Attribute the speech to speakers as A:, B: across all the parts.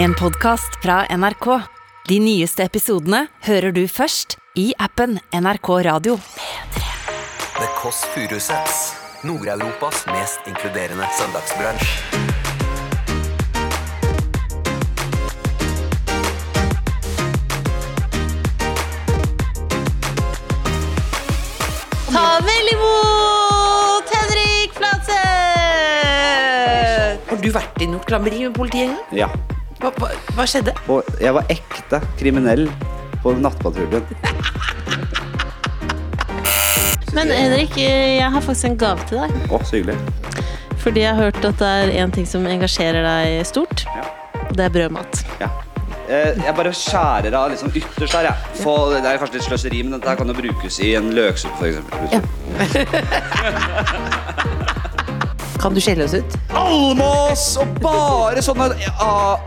A: En podcast fra NRK. De nyeste episodene hører du først i appen NRK Radio.
B: The Kåss Furuseths. Nord-Europas mest inkluderende søndagsbransj.
C: Ta vel imot Henrik Flatseth! Har du vært i noe klammeri med politiet?
D: Ja.
C: Hva, hva, hva skjedde?
D: Og jeg var ekte kriminell på nattpatruljen.
E: Men Henrik, eh, jeg har faktisk en gave til deg.
D: Å, så hyggelig.
E: Fordi jeg har hørt at det er en ting som engasjerer deg stort.
D: Ja.
E: Det er brødmat.
D: Ja. Eh, Jeg bare skjærer av liksom ytterst her, jeg. For det er kanskje litt sløseri, men dette her kan jo brukes i en løksuppe, for eksempel.
C: Kan du skjelle oss ut?
D: Almås og bare sånne eh,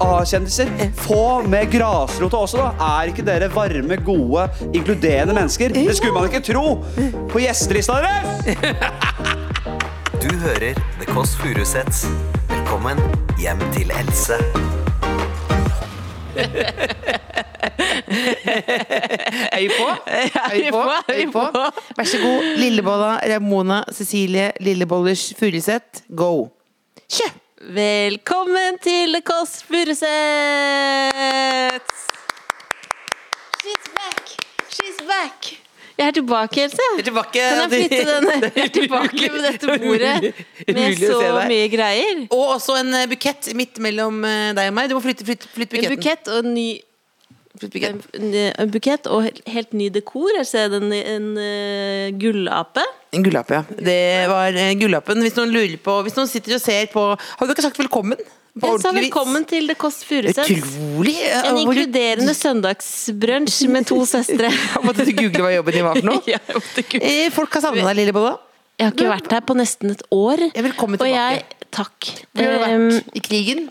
D: A-kjendiser. Få med grasrota også, da. Er ikke dere varme, gode, inkluderende mennesker? Det skulle man ikke tro på gjestelista deres!
B: Du hører The Kåss Furuseths. Velkommen hjem til Else.
F: Er vi på? Er vi på? Er vi på? Vær så god, Lillebolla Ramona Cecilie Lillebollers Furuseth, go! Kjø!
E: Velkommen til The Kåss Furuseth! She's back! She's back! Jeg er tilbake, Else.
F: er tilbake.
E: Kan jeg flytte den? Jeg er tilbake med dette bordet med
F: umulig å
E: så
F: se deg.
E: mye greier.
F: Og også en eh, bukett midt mellom eh, deg og meg. Du må flytte, flytte, flytte
E: En
F: buketten.
E: bukett og en ny
F: Flytt
E: en,
F: buketten.
E: en bukett og he- helt ny dekor. Jeg ser den i en eh, gullape.
F: En gullapp, ja. Det var eh, gullappen. Hvis noen lurer på Hvis noen sitter og ser på Har du ikke sagt velkommen? På
E: Jeg sa
F: ordentlig vis?
E: velkommen til The Kåss Furuseth.
F: Utrolig! eh,
E: En
F: hvor du-
E: inkluderende søndagsbrunsj med to søstre.
F: Måtte du google hva jobben din var for noe?
E: Ja, jeg måtte google.
F: Eh, Folk har savna deg, Lillebolla.
E: Jeg har ikke vært her på nesten et år.
F: Ja, velkommen
E: og
F: tilbake.
E: jeg Takk.
F: Hvor har du
E: Ehm,
F: vært? I krigen?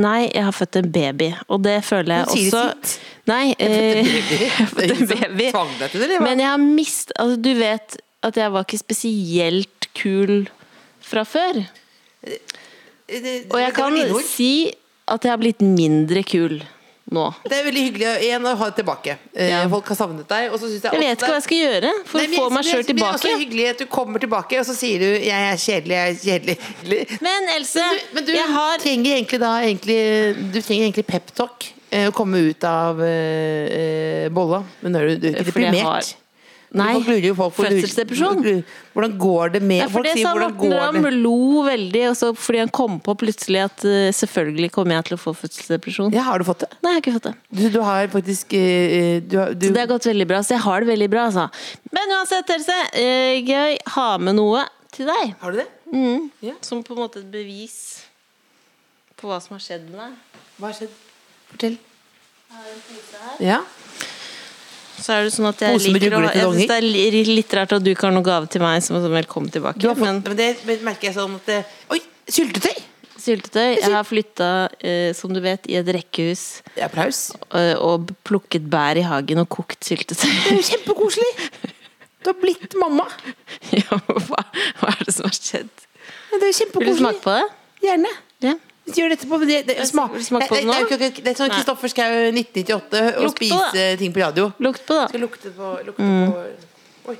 E: Nei, jeg har født en baby, og det føler jeg
F: Men sier det
E: også
F: sitt?
E: Nei, eh, jeg har
F: Det
E: født
F: er
E: en
F: ingen som
E: baby.
F: tvang deg til det, eller hva?
E: Men jeg har mist Altså, du vet at jeg var ikke spesielt kul fra før.
F: Eh,
E: Og jeg kan si at jeg har blitt mindre kul nå.
F: Det er veldig hyggelig igjen å ha det tilbake. Eh,
E: Ja.
F: Folk har savnet deg. Og så synes jeg,
E: Jeg vet ikke hva jeg skal gjøre for å få meg sjøl
F: Det er også
E: tilbake.
F: hyggelig at du kommer tilbake, og så sier du 'jeg er kjedelig', jeg er kjedelig.
E: Men Else,
F: Men du, men du
E: jeg har
F: trenger egentlig da egentlig, Du trenger egentlig peptalk. Å komme ut av eh, eh, bolla. Men nå er du, du er ikke
E: Fordi jeg
F: deprimert.
E: har-
F: Du-
E: Nei,
F: folk lurer jo folk på-
E: fødselsdepresjon.
F: lurer- Hvordan går det med
E: Ja, for
F: Folk
E: det
F: sier
E: sa
F: 'hvordan
E: Morten
F: går
E: Ramm
F: det'?
E: lo veldig, og så fordi han kom på plutselig at eh, selvfølgelig kommer jeg til å få fødselsdepresjon.
F: Ja, har du fått det?
E: Nei, jeg har ikke fått det.
F: Du, du har faktisk eh, eh, du, har- du,
E: Så det har gått veldig bra, så jeg har det veldig bra, altså. Men uansett, Else, eh, jeg har med noe til deg.
F: Har du det?
E: Som på en måte et bevis på hva som har skjedd med deg.
F: Hva har skjedd? Fortell. Ja.
E: Så er det sånn at jeg
F: Pose med
E: liker å
F: ruller til
E: Jeg
F: donger.
E: synes det er li- litt rart at du ikke har noen gave til meg som som velkommen tilbake.
F: Du har fått,
E: Men
F: men det merker jeg sånn at det, Oi, syltetøy!
E: syltetøy Jeg har flytta, eh, som du vet, i et rekkehus
F: Applaus.
E: eh, og plukket bær i hagen og kokt syltetøy.
F: Kjempekoselig! Du har blitt mamma.
E: ja, hva, hva er det som har skjedd?
F: Ja,
E: Vil
F: Det er
E: du
F: kjempekoselig.
E: smake på det?
F: Gjerne.
E: Ja.
F: Gjør det etterpå. men Det, det,
E: Jeg
F: smak,
E: vil smake på
F: det,
E: den
F: det,
E: nå.
F: er jo ikke- det er sånn
E: Nei.
F: Kristoffer Schou 1998 å
E: Lukt på
F: spise ting på radio.
E: Lukt på, da.
F: Skal lukte på, lukte
E: Mm.
F: på Oi.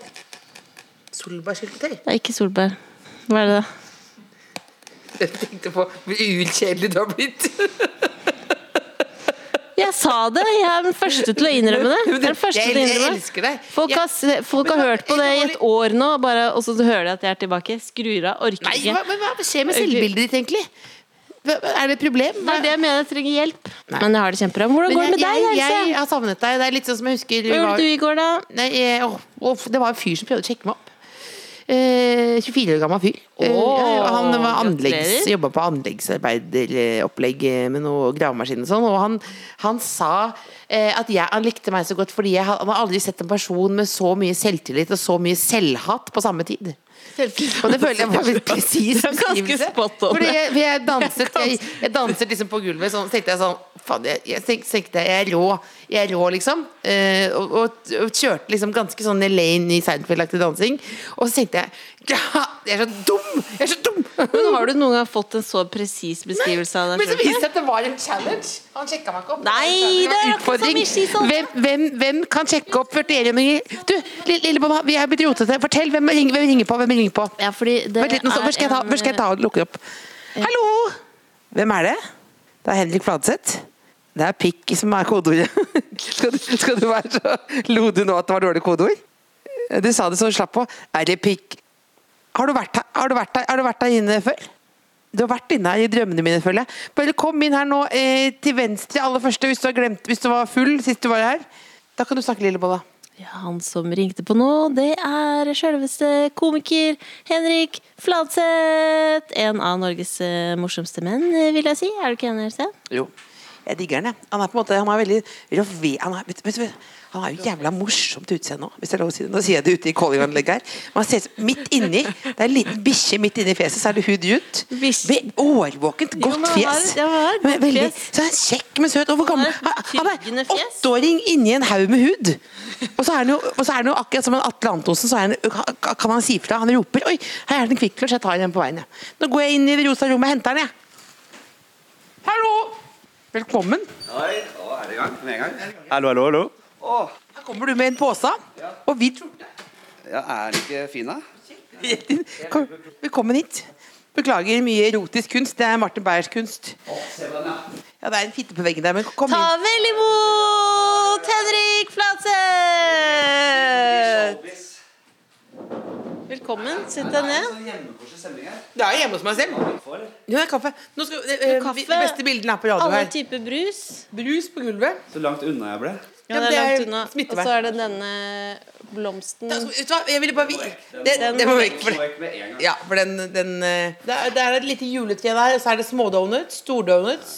F: Solbærsyltetøy.
E: Det er ikke solbær. Hva er det, da?
F: Jeg tenkte på hvor ukjedelig du har blitt.
E: Jeg sa det! Jeg er den første til å innrømme det. Jeg er den første
F: Jeg-
E: til å
F: jeg
E: innrømme det.
F: elsker deg.
E: Folk
F: Jeg-
E: har, se- folk har
F: Men hva-
E: hørt på det i et år nå, bare, og så hører de at jeg er tilbake. Skrur av, orker
F: Nei,
E: ikke.
F: hva, men hva skjer med selvbildet ditt, egentlig? Hva- Er det et problem?
E: Det er det jeg mener, jeg trenger hjelp. Men jeg har det kjempebra. Men Hvordan
F: Men
E: går det med deg,
F: jeg, jeg,
E: Else?
F: har savnet deg. Det er litt sånn som jeg husker
E: Hva
F: vi var-
E: gjorde du i går, da?
F: Nei, jeg, åh, åh, det var en fyr som prøvde å sjekke meg opp. Eh, 24 år gammel fyr.
E: Åh,
F: Eh, ja, og han var anleggs,
E: gratulerer.
F: jobba på anleggsarbeideropplegg eh, med noe gravemaskin og sånn. Og han, han sa eh, at jeg, han likte meg så godt fordi jeg, han har aldri sett en person med så mye selvtillit og så mye selvhat på samme tid. Og det føler jeg var en presis
E: Det er ganske
F: beskrivelse.
E: spot on.
F: Fordi jeg, for jeg danset, jeg, jeg danset liksom på gulvet, sånn, så tenkte jeg sånn faen, jeg, jeg tenk- tenkte jeg er rå, jeg er rå liksom. Eh, og, og, og kjørte liksom ganske sånn Elaine i Seinfeld-aktig dansing. Og så tenkte jeg ja, jeg er så dum! Jeg er så dum!
E: Men har du noen gang fått en så presis beskrivelse av
F: Men
E: deg
F: så
E: selv?
F: viste det seg at det var en challenge. Han sjekka meg ikke opp.
E: Nei,
F: Det
E: det
F: var en
E: er ikke så
F: utfordring.
E: mye skitt sånn.
F: Hvem, hvem, hvem kan sjekke opp 41-åringer? Du, lille, lille mamma, vi er blitt rotete. Fortell, hvem ringer, hvem ringer på? Hvem ringer på?
E: Ja, fordi det
F: Vent litt, nå, så- hvor skal jeg ta, hvor skal jeg ta og lukke opp? Hallo! Hvem er det? Det er Henrik Fladseth. Det er pikk som er kodeordet. skal, du, skal du være så Lo du nå at det var dårlig kodeord? Du sa det så du slapp på. Er det pikk? Har du vært her, har du vært her, har du vært her inne før? Du har vært inne her i drømmene mine, føler jeg. Bare kom inn her nå eh, til venstre aller første hvis du, har glemt, hvis du var full sist du var her. Da kan du snakke, Lillebolla.
E: Ja, eh, han som ringte på nå, det er sjølveste komiker Henrik Fladseth. En av Norges eh, morsomste menn, eh, vil jeg si. Er du ikke enig, Sten?
F: Jo. Jeg digger han, jeg. Han er på en måte Han er veldig rov- han, er, vet, vet, vet, han er jo jævla morsomt utseende òg, hvis det er lov å si det. Nå sier jeg det ute i Kollinganlegget her. Men han ser ut som- midt inni Det er en liten bikkje midt inni fjeset, så er det hud ut.
E: Bikkje.
F: Ve- Årvåkent,
E: Jo, men
F: godt
E: han har-
F: fjes.
E: ja, han har et godt
F: Men veldig-
E: fjes.
F: Så er han kjekk, men søt. Og hvor gammel
E: Han har et
F: Han
E: tyggende
F: er
E: fjes.
F: åtteåring inni en haug med hud. Og så er han jo, og så er han jo akkurat som en Atle Antonsen, så er han, kan han si fra. Han roper 'Oi, her er det en Kvikk Lunsj', jeg tar den på veien, jeg. Nå går jeg inn i det rosa rommet og henter den, jeg. Hallo! Velkommen.
D: Oi, å, er det i gang? Med en gang? Hallo, hallo, hallo.
F: Her kommer du med en pose og hvit skjorte.
D: Ja, er den ikke fin, da?
F: Rett inn. Kom, velkommen hit. Beklager mye erotisk kunst. Det er Martin Beyers kunst. Ja, det er en fitte på veggen der, men kom
E: Ta
F: inn.
E: vel imot Henrik Fladseth! Velkommen. Sitt deg ned.
F: Det er jo hjemme hos meg selv. Jo, det er kaffe. Nå skal, eh, eh,
E: kaffe.
F: De beste bildene er på radio
E: Alle
F: her.
E: typer brus.
F: Brus på gulvet.
D: Så langt unna jeg ble.
E: Ja,
F: men
E: det er langt unna. Og
F: smittevern.
E: så er det denne blomsten.
F: Da- Vet du hva, jeg ville bare vi- Det, det må vekk. For det. Ja, for den, den eh, det, er, det er et lite juletre der, og så er det smådonuts, stordonuts,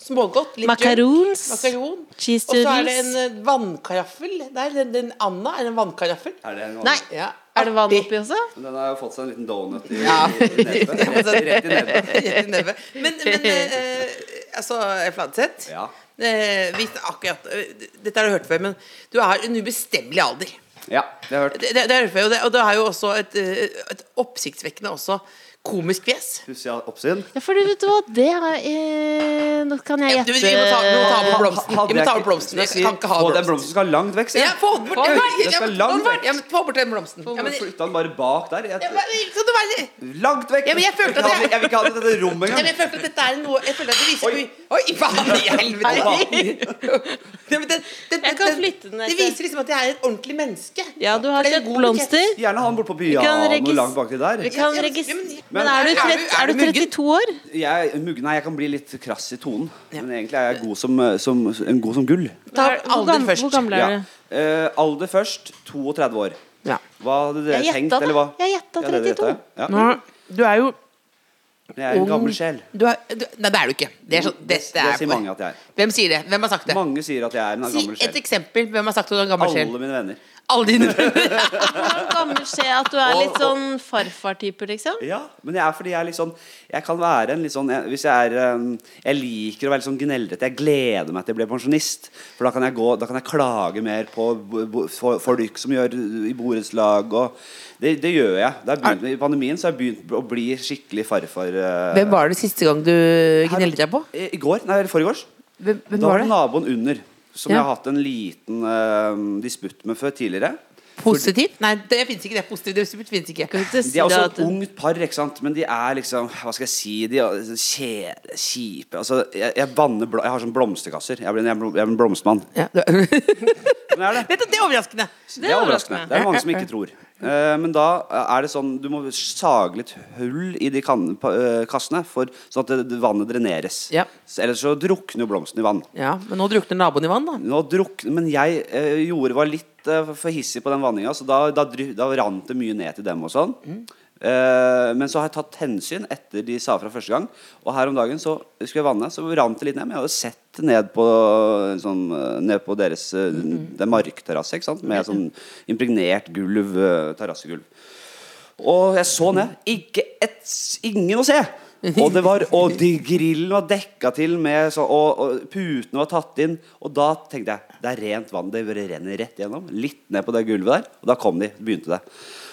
F: smågodt, litt
E: Makarons.
F: drøm, Makaron.
E: Cheese
F: Og så er det en
E: doodles.
F: eh, vannkaraffel der. Den, den Anna er en vannkaraffel.
D: Er det en vann?
F: Nei. Ja.
E: Er det vann oppi også?
D: Men Den har jo fått seg en liten donut i,
F: Ja.
D: i nebbet. Rett, rett i nebbet.
F: Rett i nebbet. Men, men eh, altså, Fladseth.
D: Ja.
F: Eh, vi- akkurat, eh, dette har du hørt før, men du har en ubestemmelig alder.
D: Ja, det har jeg hørt.
F: Det, det, det har du hørt før, og, det, og du har jo også et, eh, et oppsiktsvekkende også komisk fjes.
D: Pussig oppsyn.
E: Ja, for du vet du hva, det har eh, Nå kan jeg
F: Ja, du, vi må ta, vi må
E: gjette.
D: eh,
F: ta med blomsten. Vi må ta med blomsten. Jeg kan ikke ha
D: Få den
F: blomsten.
D: blomsten skal langt vekk, sier
F: Ja, få den bort. Ja, men-
D: Det skal
F: ja, men-
D: langt vekk.
F: ja, men Få bort den blomsten. Ja, men,
D: Hvorfor Flytta den bare bak der.
F: ja,
D: Jeg,
F: men, kan du være
D: langt vekk!
F: Ja, men jeg følte at
D: vil ikke ha det-
F: jeg-
D: jeg vil ikke ha det i dette rommet
F: Nei, men
D: engang.
F: jeg følte at dette er noe Jeg følte at det viser Oi, faen i helvete! Ja, men det, det, det,
E: Jeg kan
F: det-
E: flytte den,
F: Det
E: Ete.
F: viser liksom at jeg er et ordentlig menneske.
E: Ja, du har
F: For det er
E: kjøpt
F: god
E: blomster.
F: bukett.
D: Gjerne ha den bortpå
E: kan regis-
D: pianoet langt baki der.
E: Vi kan
F: Ja, ja, men-
E: regis...
F: ja, men-
E: Men er du,
F: er du-
E: trett,
F: er
E: er
F: du
E: du
F: muggen?
E: 32 år?
D: Jeg, mugg- nei, jeg kan bli litt krass i tonen, men egentlig er jeg god som, eh, som, en god som gull.
F: Ta
E: Er- hvor
F: alder
E: gam- Hvor
F: først.
E: gammel er du?
D: Eh, alder først 32 år.
F: Ja.
D: Hva hadde dere
E: Jeg
D: tenkt,
E: gjetta,
D: eller hva?
E: da. Jeg gjetta
D: Ja, dere
E: 32.
D: gjetta, ja.
F: Nå, du er jo
D: Men Jeg er
F: ung.
D: en gammel sjel.
F: du er, du, Nei, det er du ikke. Det, er sånn, det, det, er,
D: sier mange at jeg er.
F: Hvem sier det? Hvem har sagt det?
D: Mange sier at jeg er en
F: Si
D: gammel
F: et
D: sjel.
F: eksempel. Hvem har sagt at du er en gammel sjel?
D: Alle mine venner.
F: Alle dine venner.
E: Hvor gammel ser jeg at du er litt sånn farfar-type, liksom?
D: Ja, men jeg er fordi jeg er litt sånn Jeg kan være en litt sånn jeg, Hvis jeg er um, Jeg liker å være litt sånn gneldrete. Jeg gleder meg til jeg blir pensjonist. For da kan jeg gå Da kan jeg klage mer på bo- bo- for- folk som gjør i borettslag og det, det gjør jeg. Det er begynt, I pandemien så har jeg begynt å bli skikkelig farfar. eh,
F: Hvem var det siste gang du gnellet deg på?
D: I, i går? Nei, eller foregårs.
F: Hvem, hvem
D: Da var
F: var
D: det
F: det?
D: naboen under, som
F: Ja.
D: jeg har hatt en liten eh, disputt med før tidligere.
F: Positiv? Nei, det fins ikke. Det er positivt. Det finnes ikke.
D: De er også et ungt par, ikke sant? men de er liksom Hva skal jeg si? De er så kjede, kjipe altså, jeg, jeg banner bl Jeg har sånn blomsterkasser. Jeg blir en, jeg blir en blomstermann.
F: Ja, du- Vet
D: Men er det?
F: du, det er overraskende.
D: Det er overraskende. Det er mange som ikke tror. Eh, men da er det sånn Du må sage litt hull i de kan, pa- eh, kassene, for, sånn at det, det, vannet dreneres.
F: Ja.
D: Så- Ellers så drukner jo blomsten i vann.
F: Ja, Men nå drukner naboen i vann, da.
D: Nå druk, men jeg eh, gjorde var litt eh, for- for hissig på den vanninga, så da, da, dry- da rant det mye ned til dem og sånn. Eh, men så har jeg tatt hensyn etter de sa fra første gang. Og her om dagen så skulle jeg vanne, så rant det litt ned. Men jeg hadde sett ned på, eh, sånn, eh, ned på deres eh, Det er markterrasse, ikke sant? Med sånn impregnert gulv, eh, terrassegulv. Og jeg så ned. Ikke et, ingen å se! Og, det var, og de grillen var dekka til med så, og, og putene var tatt inn. Og da tenkte jeg det er rent vann. Det bare renner rett gjennom. Litt ned på det gulvet der. Og da kom de. Begynte det.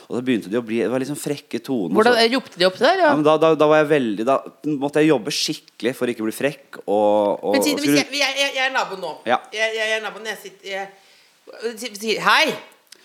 D: Og da begynte de å bli Det var liksom frekke toner. og så-
F: Hvordan ropte de opp til deg?
D: ja,
F: Ja.
D: men da, da, da var jeg veldig Da måtte jeg jobbe skikkelig for ikke å bli frekk. Og, og,
F: Men si det,
D: og
F: hvis
D: skulle-
F: jeg, jeg, jeg, jeg er nabo nå.
D: Ja.
F: Jeg, jeg er nabo når jeg sitter jeg, si- sier, Hei!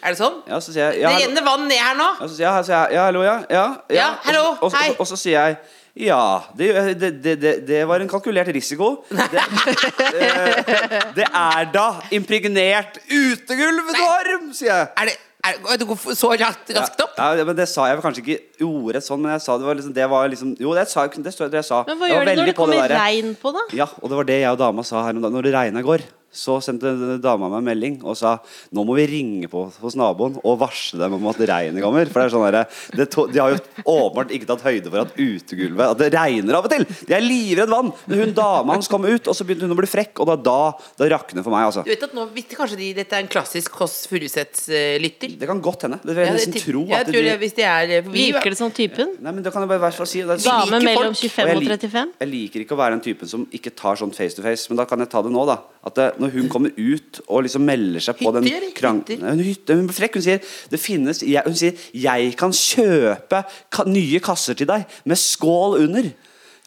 F: Er det sånn?
D: ja, så sier jeg ja,
F: det
D: hallo,
F: renner vann ned her nå.
D: ja, så sier jeg, ja, så sier jeg, ja, hallo, ja. Ja,
F: Ja,
D: Og så-
F: hallo,
D: og, så-
F: hei.
D: Og, så sier jeg ja. Det, det, det, det, det var en kalkulert risiko. Det, eh, det er da impregnert utegulvvarm, sier jeg.
F: Er det, er, er det går så raskt, raskt opp?
D: Ja, ja, men Det sa jeg kanskje ikke ordrett sånn, men jeg sa det var liksom, det var liksom Jo, det sa det står det jeg sa.
E: Men hva
D: Jeg var
E: gjør de
D: veldig
E: når det
D: på
E: kommer
D: der.
E: regn på, da?
D: Ja, og det var det jeg og dama sa her om dagen. Når det regna i går, så sendte dama meg en melding og sa nå må vi ringe på hos naboen og varsle dem om at regnet kommer. For det er sånn derre- det to, De har jo åpenbart ikke tatt høyde for at utegulvet At det regner av og til! De er livredd vann! Men hun dama hans kom ut, og så begynte hun å bli frekk, og da, da, da rakner det for meg, altså.
F: Du vet at nå vet kanskje de dette er en klassisk Kåss Furuseth-lytter?
D: Det kan godt hende. Det vil jeg nesten tro
F: jeg
D: at
F: tror det,
D: de
F: hvis det er eh, for vi,
E: Virker det som typen?
D: Nei, men det kan jeg bare i hvert fall si. Det er-
E: Dame
F: liker
E: mellom
F: folk,
E: 25 og
D: jeg lik-
E: 35?
D: Jeg liker ikke å være den typen som ikke tar sånn face to face, men da kan jeg ta det nå, da. At eh, når hun kommer ut og liksom melder seg på
F: Hytter,
D: den krang-
F: hytter.
D: Nei, Hun, hytter, hun blir frekk. Hun sier det finnes jeg, Hun sier 'jeg kan kjøpe ka nye kasser til deg med skål under'.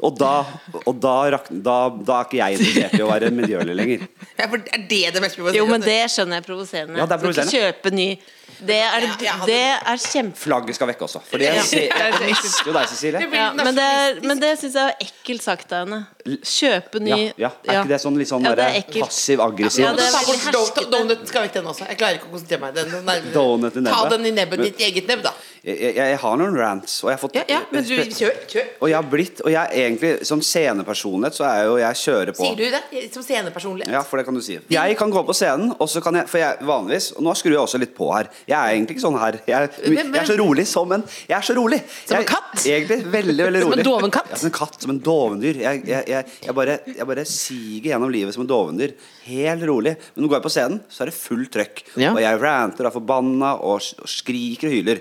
D: Og da, og da, rak, da, da er ikke jeg interessert i å være miljølig lenger.
F: Ja, for Er det det mest provoserende?
E: Jo, men det skjønner jeg er provoserende.
D: Ja, det er
E: Du skal ikke Kjøpe ny. Det er,
F: Ja, ja, det-
E: det er kjempe...
D: Flagget skal vekk også. For det jeg ser- jeg elsker jo deg, Cecilie.
E: Ja, men det, er- men det syns jeg er ekkelt sagt av henne. Kjøpe ny
D: Ja, ja. Er ikke det sånn litt sånn
E: Ja, det er
D: derre
E: ekkelt.
D: passiv-aggressiv?
E: Ja, det er
F: Ta
E: veldig
F: bort do-
E: herskete.
F: Donuten skal vekk, den også. Jeg klarer ikke å konsentrere meg. Den, den, er-
D: Donut i nebbet.
F: Ta den i nebbet.
D: Men-
F: Ditt eget nebb, da.
D: jeg, jeg, jeg har noen rants, og jeg har fått
F: Ja, ja, men du, kjør. kjør.
D: Og jeg har blitt Og jeg er egentlig som scenepersonlighet så er jeg jo jeg kjører på.
F: Sier du det som scenepersonlighet?
D: Ja, for det kan du si. Jeg kan gå på scenen, og så kan jeg For jeg vanligvis Og nå skrur jeg også litt på her. Jeg er egentlig ikke sånn her. Jeg,
F: Men- men-
D: jeg er så rolig som en Jeg er så rolig.
F: Som en
D: Jeg-
F: katt?
D: Egentlig veldig, veldig
F: Som en
D: rolig.
F: doven katt?
D: Ja, som en katt. Som en dovendyr. Jeg, jeg, jeg, jeg, bare, jeg bare siger gjennom livet som en dovendyr. Helt rolig. Men nå går jeg på scenen, så er det fullt trøkk.
F: Ja.
D: Og jeg ranter og er forbanna og, s- og skriker og hyler.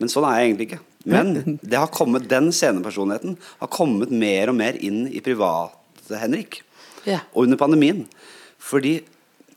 D: Men sånn er jeg egentlig ikke. Men det har kommet, den scenepersonligheten har kommet mer og mer inn i private Henrik.
F: Ja.
D: Og under pandemien. Fordi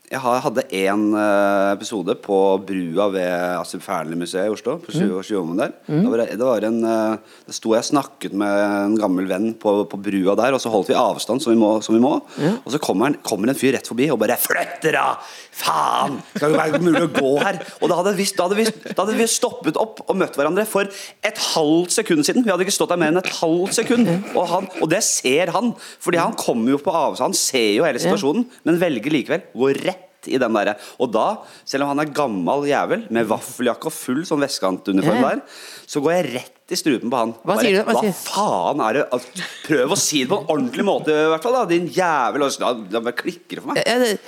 D: jeg har- hadde én episode på brua ved Astrup Fearnley-museet i Oslo. På Sju- Sjuåmen der. Da var det, det var en, eh, da sto jeg og snakket med en gammel venn på, på brua der, og så holdt vi avstand som vi må. Som vi må. Og så kommer, en- kommer en fyr rett forbi og bare 'Flytt dere! da! Faen! Skal det være mulig å gå her?' Og da hadde, vi, da, hadde vi, da hadde vi stoppet opp og møtt hverandre for et halvt sekund siden. Vi hadde ikke stått der mer enn et halvt sekund. Og, han, og det ser han. Fordi han kommer jo på avstand. Han ser jo hele situasjonen, men velger likevel å gå rett i den derre. Og da, selv om han er gammel jævel med vaffeljakke og full sånn vestkantuniform
F: Ja.
D: der, så går jeg rett i strupen på han.
F: Hva
D: Bare,
F: sier du? Hva
D: Hva
F: sier-
D: faen er det altså, Prøv å si det på en ordentlig måte, i hvert fall. da Din jævel. Og så- Da, da bare klikker det for meg.
F: Ja, det-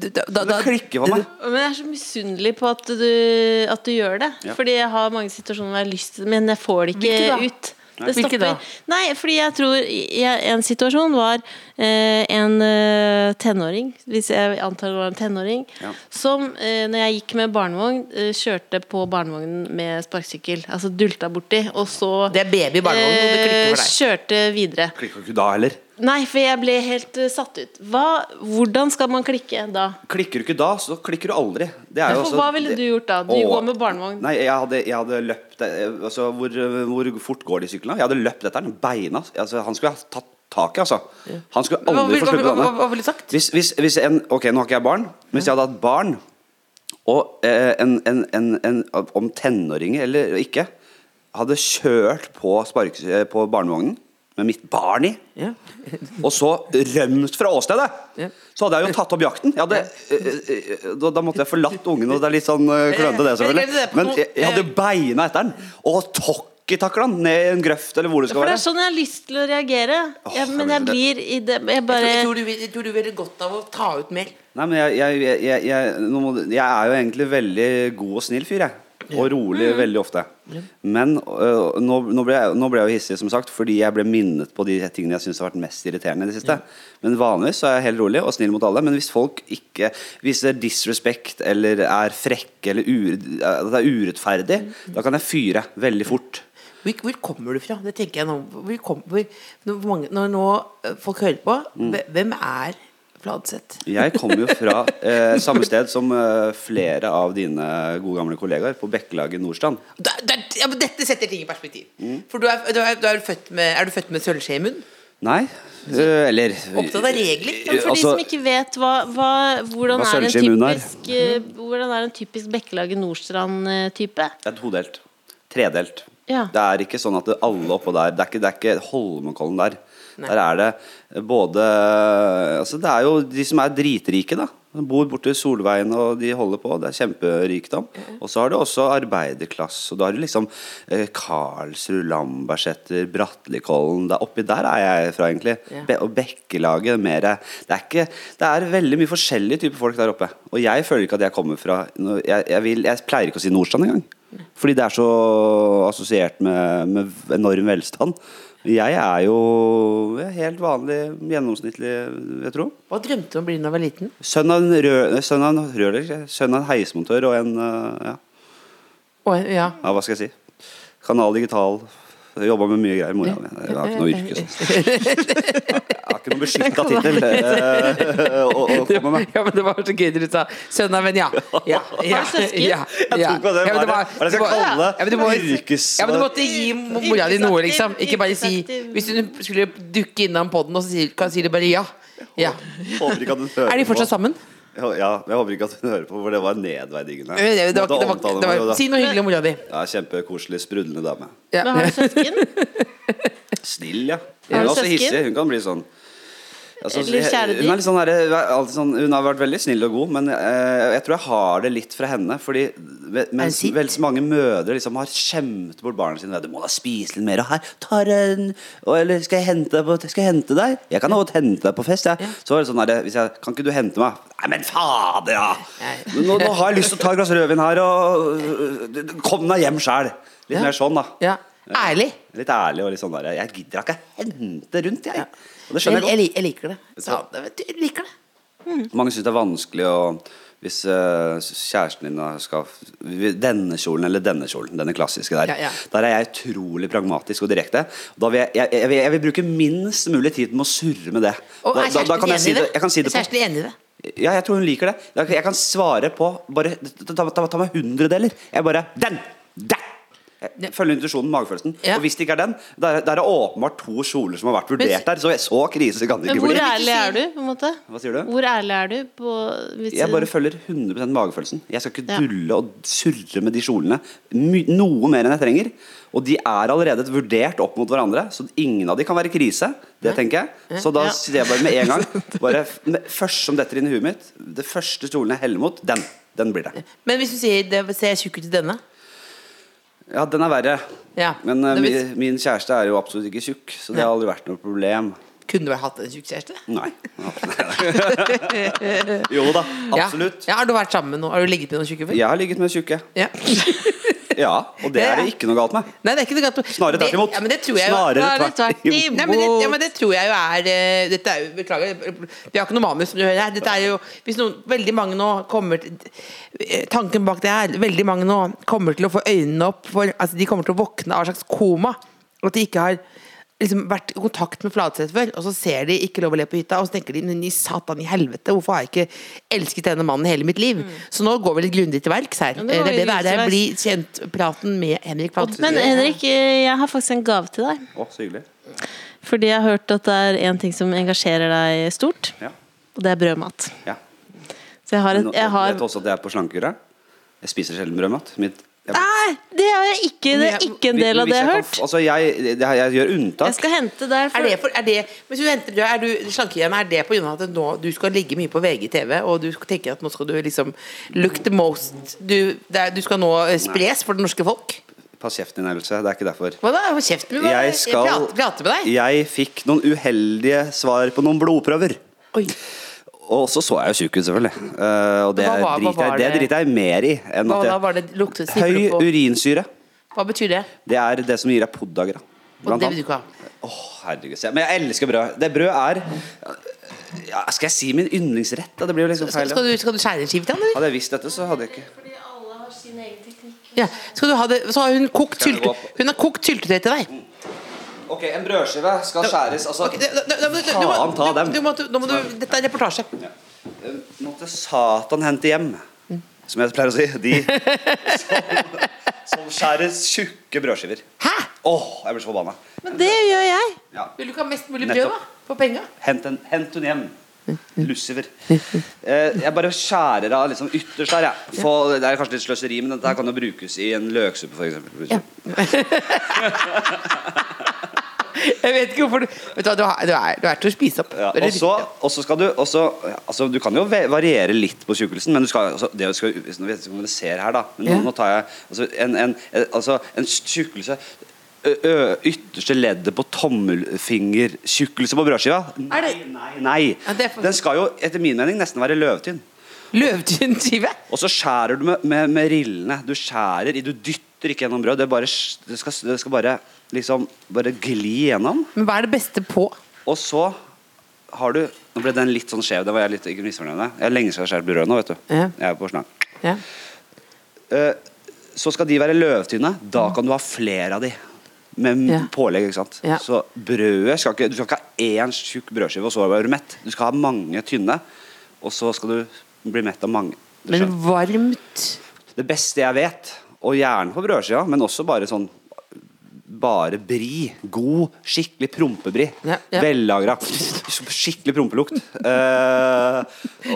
F: du- da- Eh, da-
D: Det klikker for meg.
E: Men jeg er så misunnelig på at du, at du gjør det.
D: Ja.
E: Fordi jeg har mange situasjoner hvor jeg har lyst til det, men jeg får det
F: Hvilke da?
E: ikke ut. Det
F: Hvilke
E: stopper.
F: da?
E: Nei, fordi jeg tror jeg, En situasjon var eh, en eh, tenåring, hvis jeg antar det var en tenåring,
D: Ja.
E: som eh, når jeg gikk med barnevogn, eh, kjørte på barnevognen med sparkesykkel. Altså dulta borti, og så
F: Det er baby i barnevognen, og det klikker for deg.
E: eh, Kjørte videre.
D: Klikker ikke da heller.
E: Nei, for jeg ble helt eh, satt ut. Hva, hvordan skal man klikke da?
D: Klikker du ikke da, så klikker du aldri. Det er jo
E: For
D: også-
E: hva ville
D: det-
E: du gjort da? Du
D: Åh.
E: går med barnevogn.
D: Nei, jeg hadde, jeg hadde løpt eh, altså, hvor, hvor fort går de syklene? Jeg hadde løpt etter den. Beina altså, Han skulle ha tatt tak i, altså. Han skulle
F: Hva
D: aldri
F: vil-
D: få
F: hva-
D: sluppet
F: hva-
D: denne.
F: hva ville du sagt?
D: Hvis, hvis, hvis en, ok, nå har ikke jeg barn, men hvis jeg hadde hatt barn og eh, en, en, en, en, om tenåringer eller ikke, hadde kjørt på, sparkes- eh, på barnevognen med mitt barn i,
F: Ja.
D: og så rømt fra åstedet,
F: Ja.
D: så hadde jeg jo tatt opp jakten. Jeg hadde, eh, eh, eh, da, da måtte jeg forlatt ungen, og det er litt sånn eh, klønete, det selvfølgelig. Men jeg, jeg hadde beina etter den, og tokkitakla den ned i en grøft eller hvor det skal
E: For det
D: være.
E: er sånn jeg har lyst til å reagere.
D: Åh,
E: Ja, men
D: jeg
E: jeg
D: blir
E: blir i det Jeg bare
F: Jeg tror, jeg tror du, jeg tror du ville godt av å ta ut mer.
D: Nei, men jeg, jeg, jeg, jeg, jeg, nå må, du- jeg er jo egentlig veldig god og snill fyr, jeg. Og rolig veldig ofte. Men øh, nå, nå, ble jeg, nå ble jeg jo hissig, som sagt, fordi jeg ble minnet på de tingene jeg syns har vært mest irriterende i det siste. Men vanligvis så er jeg helt rolig og snill mot alle. Men hvis folk ikke viser disrespect eller er frekke eller ure, at det er urettferdig, da kan jeg fyre veldig fort.
F: Hvor, hvor kommer du fra? Det tenker jeg nå. Hvor kom, hvor, når, mange, når nå eh, folk hører på, hve- hvem er Fladseth?
D: Jeg kommer jo fra eh, samme sted som eh, flere av dine gode gamle kollegaer på Bekkelaget Nordstrand.
F: Da- da- ja, men dette setter ting i perspektiv. For du er, du er, du er, født med, er du født med sølvskje i munnen?
D: Nei, eh, eller
F: Opptatt av regler?
E: Men for de
D: Altså-
E: som ikke vet hva, hva, hvordan, er
D: Hva
E: en
D: sølvskje i munnen er.
E: typisk, eh, hvordan er en typisk Bekkelaget Nordstrand-type?
D: Det er todelt. Tredelt.
E: Ja.
D: Det er ikke sånn at det- alle oppå der Det er ikke, det er ikke Holmenkollen der. Der er det eh, både Altså, det er jo de som er dritrike, da. Som bor borte i Solveien og de holder på. Det er kjemperikdom. Og så har du også arbeiderklasse. Og da har du liksom eh, Karlsrud, Lambertseter, Brattelikollen det er Oppi der er jeg fra, egentlig. Be og Bekkelaget mer det er, ikke, det er veldig mye forskjellige typer folk der oppe. Og jeg føler ikke at jeg kommer fra noe- Jeg, jeg, vil, jeg pleier ikke å si Nordstrand engang. Fordi det er så assosiert med, med enorm velstand. Jeg er jo helt vanlig, gjennomsnittlig, vil jeg tro.
F: Hva drømte du om å bli da du var liten?
D: Sønn av en rør- sønn av en rørlegger, sier jeg. sønn av en heismontør og en eh, ja.
F: Å, ja.
D: ja, hva skal jeg si? Kanal Digital. Jobba med mye greier, mora mi. Jeg har ikke noe yrke. Så. Jeg har ikke noen beskytta tittel eh, å, å komme med.
F: Ja, men det var så gøy dere sa. Sønn av en ja. Ja, ja,
E: Søsken?
F: ja,
D: Jeg
F: ja.
D: tok på det.
F: Ja, men
D: Hva er det- hva er det jeg skal
F: det
D: kalle
F: var- ja, men du må-
D: yrkes-
F: Ja, men du måtte gi mo- mora di noe, liksom. Ikke bare si
E: Yrkesaktiv.
F: Hvis hun skulle dukke innom poden, så sier- kan- sier de bare ja. ja.
D: Håper ikke at hun hører
F: Er de
D: på.
F: fortsatt sammen?
D: Ja, jeg håper ikke at hun hører på, for det var nedverdigende.
F: Det var, det var,
D: Måtte
F: det var, det
D: omtale meg,
F: var,
D: da.
F: si noe hyggelig om mora di.
D: Ja, kjempekoselig, sprudlende dame.
E: Men har du søsken?
D: Snill, ja. Hun
E: Har
D: er
E: du
D: også
E: søsken?
D: hissig. Hun kan bli sånn altså,
E: Eller kjæledyr?
D: hun, er litt sånn der, alltid sånn, hun har vært veldig snill og god, men eh, jeg tror jeg har det litt fra henne. Fordi ve- mens
F: sint?
D: veldig mange mødre liksom har skjemt bort barna sine ved, Du må da spise litt mer, og her, tar en og, Eller skal jeg hente deg på Skal jeg hente deg? Jeg kan godt hente deg på fest, jeg. Så var det sånn der, hvis jeg, Kan ikke du hente meg? Nei, men fader, ja! Nå, nå har jeg lyst til å ta et glass rødvin her, og øh, Kom deg hjem sjæl! Litt
F: Ja.
D: mer sånn, da.
F: Ja. Ærlig.
D: Litt ærlig og litt sånn der Jeg gidder ikke hente rundt, jeg. Og det
F: Jeg,
D: skjønner
F: jeg,
D: jeg
F: lik- jeg liker det. Så, jeg liker det.
D: godt. Mange syns det er vanskelig å hvis eh, kjæresten din da skal Denne kjolen eller denne kjolen. Denne klassiske der.
F: Ja, ja.
D: Der er jeg utrolig pragmatisk og direkte. Da vil jeg, jeg, jeg, vil- jeg vil bruke minst mulig tid med å surre med det.
F: Og er
D: Da- da- da kan
F: kjæresten
D: jeg si
F: enig i det?
D: Jeg kan si
F: Er
D: det på
F: kjæresten enig i det?
D: Ja, jeg tror hun liker det. Da- Jeg kan svare på bare, ta, ta, ta meg hundredeler. Jeg bare Den! Der! Jeg følger intuisjonen, magefølelsen.
F: Ja.
D: Og hvis det ikke er den, der, der er det åpenbart to kjoler som har vært vurdert der. Så jeg så krise kan det
E: Men
D: ikke
E: hvor
D: bli.
E: ærlig er du? på en måte?
D: Hva sier du?
E: Hvor ærlig er du? På, hvis
D: Jeg bare følger 100 magefølelsen. Jeg skal ikke
E: Ja.
D: dulle og surre med de kjolene my noe mer enn jeg trenger. Og de er allerede vurdert opp mot hverandre, så ingen av de kan være krise. Det tenker jeg. Så da
E: Ja.
D: sier jeg bare med en gang bare, f- med- Først som detter inn i huet mitt, det første kjolen jeg heller mot, den. Den blir det.
F: Men hvis du sier det, 'ser jeg tjukk ut i denne'?
D: Ja, den er verre.
F: Ja.
D: Men eh,
F: Det
D: mi,
F: vil-
D: min kjæreste er jo absolutt ikke tjukk, så det har aldri vært noe problem.
F: Kunne du vel hatt en tjukk kjæreste?
D: Nei. jo da, absolutt.
F: Ja. Ja, har du vært sammen med noen? Har du ligget med noen tjukke før?
D: Jeg har ligget med tjukke.
F: ja.
D: Ja, og det er det ikke noe galt med.
F: Nei, det er ikke noe galt med-
D: Snarere tvert
F: Det-
D: imot.
F: Ja, men det tror jeg jo
D: Snarere
F: Snarere
D: tvert
F: tvert imot. Nei, men det, ja, men det tror jeg jo er eh, Dette er jo, Beklager, vi har ikke noe manus. som du hører her. Dette er jo, hvis noen, veldig mange nå kommer til eh, Tanken bak det her Veldig mange nå kommer til å få øynene opp for altså, De kommer til å våkne av et slags koma. At de ikke har liksom, vært i kontakt med Fladseth før. Og så ser de ikke lov å le på hytta, og så tenker de men i satan i helvete, hvorfor har jeg ikke elsket denne mannen hele mitt liv? Så nå går vi litt grundig til verks her.
E: Mm.
F: Eh,
E: det
F: det,
E: går vi
F: det,
E: grundig
F: er
E: til
F: bli kjent-praten med Henrik Fladseth.
E: Men Henrik, eh, jeg har faktisk en gave til deg.
D: Å, så hyggelig.
E: Fordi jeg har hørt at det er en ting som engasjerer deg stort,
D: Ja.
E: og det er brødmat.
D: ja.
E: Så jeg har et
D: Men
E: jeg
D: Vet
E: har,
D: du også at jeg er på slankekuret? Jeg spiser sjelden brødmat. Mitt, jeg,
E: Nei, det er jeg ikke, det er Ah, ikke en del av
D: Hvis
E: det jeg har
D: kan
E: hørt.
D: f- Altså, jeg, det her- jeg gjør
E: Jeg
D: unntak.
E: skal hente deg
F: Er
E: for
F: det, for, er det, hvis du henter brød, er du slankehjemme, er det på grunn av at nå, du skal ligge mye på VGTV, og du skal tenke at nå skal du liksom look the most Du, det er, du skal nå eh, spres for det norske folk?
D: Pass kjeften din, Else. Det er ikke derfor.
F: Hva da? Hold kjeft med meg.
D: Jeg skal
F: prater, prater med deg.
D: Jeg fikk noen uheldige svar på noen blodprøver.
F: Oi.
D: Og så så jeg jo tjukk ut, selvfølgelig. Eh, og det
F: Men hva var-
D: driter
F: hva
D: jeg,
F: var
D: det
F: det?
D: driter jeg mer i. Enn
F: Hva
D: at
F: da
D: jeg,
F: var det luktet
D: høy
F: sniffer du på?
D: urinsyre.
F: Hva betyr det?
D: Det er det som gir deg poddager.
F: Og det vil du ikke ha.
D: Åh, herregud. se. Men jeg elsker brød. Det brød er ja, Skal jeg si min yndlingsrett? da? Det blir jo liksom
F: Skal,
D: feil.
F: skal,
D: ja.
F: du, skal du skjære en skive til han, eller?
D: Hadde jeg visst dette, så hadde jeg ikke
E: Fordi alle har sin egen teknikk
F: Ja. Skal du ha det, så har hun kokt
D: Skal jeg
F: sylte
D: gå opp?
F: Hun har kokt syltetøy til deg.
D: Ok, en brødskive skal skjæres. Altså,
F: Ok, da- da- da- da- du må-
D: faen ta
F: du-
D: dem.
F: du må- Nå må du Dette er reportasje.
D: Eh, Måtte satan hente hjem, som jeg pleier å si. De som, som skjærer tjukke brødskiver.
F: Hæ?
D: Åh, jeg blir så forbanna.
E: Men det gjør jeg.
D: Ja.
F: Vil du ikke ha mest mulig brød,
D: Nettopp.
F: da? For penga?
D: Hent, en, hent hun hjem.
F: Mm-hmm.
D: Lucifer. Eh, jeg bare skjærer av liksom ytterst der, jeg. Få- det er kanskje litt sløseri, men dette her kan jo brukes i en løksuppe, f.eks. Ja.
F: Jeg vet ikke hvorfor du Vet du hva, du er, du er, du er til å spise opp.
D: Ja, og, så, og så skal du og så- altså, Du kan jo ve- variere litt på tjukkelsen, men du skal, altså, det skal hvis nå vet jeg ikke om dere ser her, da. Men nå,
F: Ja.
D: nå tar jeg altså, en, en, eh, altså, en tjukkelse ø, ø, Ytterste leddet på tommelfingertjukkelse på brødskiva.
F: Er
D: Nei,
F: det-
D: nei, nei.
F: Ja, det er for-
D: Den skal jo etter min mening nesten være løvtynn.
F: Løvtynnskive?
D: Og så skjærer du med, med, med rillene. Du skjærer i Du dytter ikke gjennom brød. Det, er bare, s- det, skal, det skal bare liksom bare gli gjennom.
F: Men hva er det beste på?
D: Og så har du Nå ble den litt sånn skjev. Det var jeg litt ikke misfornøyd med. Jeg er lenge siden jeg har skåret brød nå, vet du.
F: Ja.
D: Jeg er på snart.
F: Ja.
D: Eh, så skal de være løvtynne. Da kan du ha flere av de. Med m-
F: Mm. Ja.
D: pålegg, ikke sant.
F: Ja.
D: Så brødet skal ikke Du skal ikke ha én tjukk brødskive, og så være mett. Du skal ha mange tynne, og så skal du bli mett av mange. Du
F: Men
D: skjønner.
F: varmt
D: Det beste jeg vet, og gjerne på brødskiva, men også bare sånn bare bri. God, skikkelig prompebri.
F: Ja, ja.
D: Vellagra. Skikkelig prompelukt. Eh,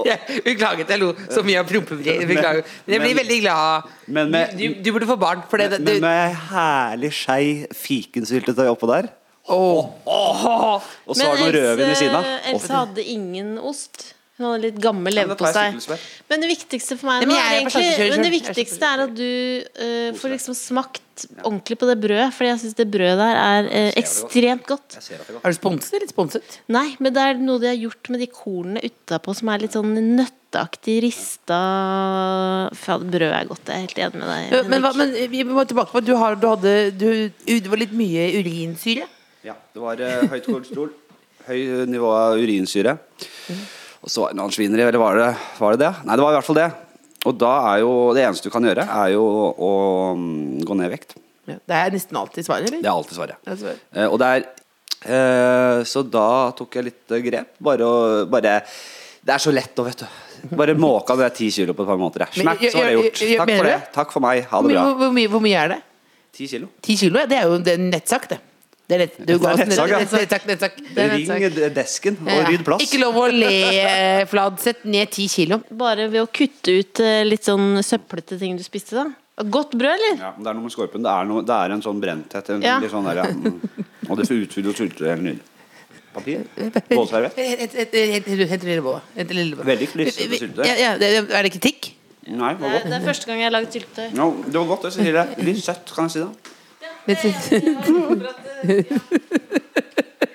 F: Jeg Beklager at jeg lo så mye av prompebri. Beklager. Men jeg blir
D: men-
F: veldig glad.
D: Men med-
F: du, du, du burde få barn. For det,
D: men
F: det, du,
D: med herlig skei fikensyltetøy oppå der.
F: Åh.
D: Og så har du noe rødvin ved siden av.
E: Else hadde ingen ost. Hun hadde litt gammel
D: Ja, men da tar
E: leverpostei.
D: jeg sykkelsvær.
E: Men det viktigste for meg nå
F: Nei, men
E: er
F: jeg er på
E: egentlig
F: sjansekjører
E: Men det
F: selv.
E: viktigste er at du eh, får liksom smakt ordentlig på det brødet. Fordi jeg syns det brødet der er eh, ekstremt godt.
D: Jeg ser at det går.
F: Er du sponset eller sponset?
E: Nei, men det er noe de har gjort med de kornene utapå som er litt sånn nøtteaktig rista Fader, brød er godt. Jeg er helt enig med deg.
F: Men,
E: Henrik.
F: hva, men eh, vi må tilbake på at du, har, du hadde du, Det var litt mye urinsyre.
D: Ja, det var eh, høyt kolesterol. Høy eh, nivå av urinsyre. Og så var det noen svineri, eller var det, var det det? Nei, det var i hvert fall det. Og da er jo det eneste du kan gjøre, er jo å mm, gå ned i vekt.
F: Ja, Det er nesten alltid svaret,
D: Det
F: eller?
D: er alltid svaret.
F: Det er svaret.
D: Eh, og det er eh, Så da tok jeg litt eh, grep. Bare å bare, Det er så lett nå, vet du. Bare måka ned ti kilo på et par måneder. jeg.
F: Men
D: Smekk,
F: gjør-
D: så var det
F: gjør-
D: gjort.
F: gjør-
D: Takk
F: mener
D: for
F: du
D: det.
F: det?
D: Takk for meg. Ha
F: Hvor,
D: det bra.
F: mye- hvor, mye, hvor mye er det?
D: Ti kilo.
F: Ti kilo? Ja, det er jo det er en nettsak, det. Det er, nett, du
D: Det er
F: går-
D: nettsak, ja.
F: nettsak, nettsak.
D: Ring eh, desken og rydd plass.
F: Ikke lov å le, Fladseth. Ned ti kilo.
E: Bare ved å kutte ut eh, litt sånn søplete ting du spiste, da. Godt brød, eller?
D: Ja, men det er noe med skorpen. Det er, noe, det er en sånn brenthet. En,
E: Ja.
D: litt sånn der, ja. mm. Og det utfyller og sulter helt nydelig. Papir? Bålserviett?
F: Hent- hent- hent- hent- Hent lilleboa. Hent lilleboa.
D: Veldig klissete sylte.
F: Ja, ja, det- Er det kritikk?
D: Nei,
E: Det
D: det var
E: er,
D: godt.
E: det er første gang jeg har lagd syltetøy.
D: No, det var godt, det, Cecilie. Litt søtt, kan jeg si det.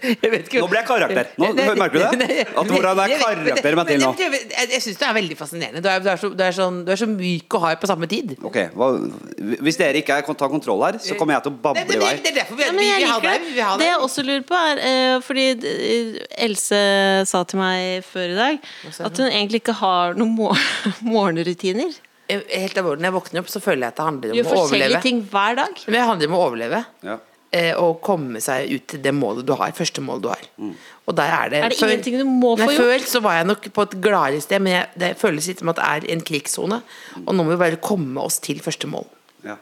F: Jeg vet ikke.
D: Nå ble jeg karakter. Nå,
F: Nei,
D: merker du
F: nei,
D: det?
F: nei,
D: At hvordan det
F: jeg
D: er
F: vet-
D: karakter meg til nå.
F: men Jeg, jeg, jeg, jeg syns det er veldig fascinerende. Du er, du, er så, du, er sånn, du er så myk og hard på samme tid.
D: Ok, hva, Hvis dere ikke er- kan ta kontroll her, så kommer jeg til å
F: Nei,
D: bable
F: det,
D: i vei.
F: det, det er derfor vi,
E: Ja,
F: vi,
E: men jeg
F: vi har
E: liker
F: deg.
E: det.
F: Vi har
E: Det
F: deg.
E: jeg også lurer på, er eh, Fordi eh, Else sa til meg før i dag
F: sa
E: at hun egentlig ikke har noen mor morgenrutiner.
F: Jeg- Helt alvorlig, når jeg våkner opp, så føler jeg at det handler
E: Du
F: om
E: gjør
F: å
E: forskjellige
F: overleve.
E: ting hver dag.
F: Men det handler om å overleve.
D: Ja.
F: Eh, og komme seg ut til det målet du har. Første målet du har.
D: Mm.
F: Og der er det
E: Er det ingenting du må få
F: Nei,
E: gjort?
F: Før så var jeg nok på et gladere sted, men jeg, det føles litt som at det er en krigssone.
D: Mm.
F: Og nå må vi bare komme oss til første mål.
D: Ja.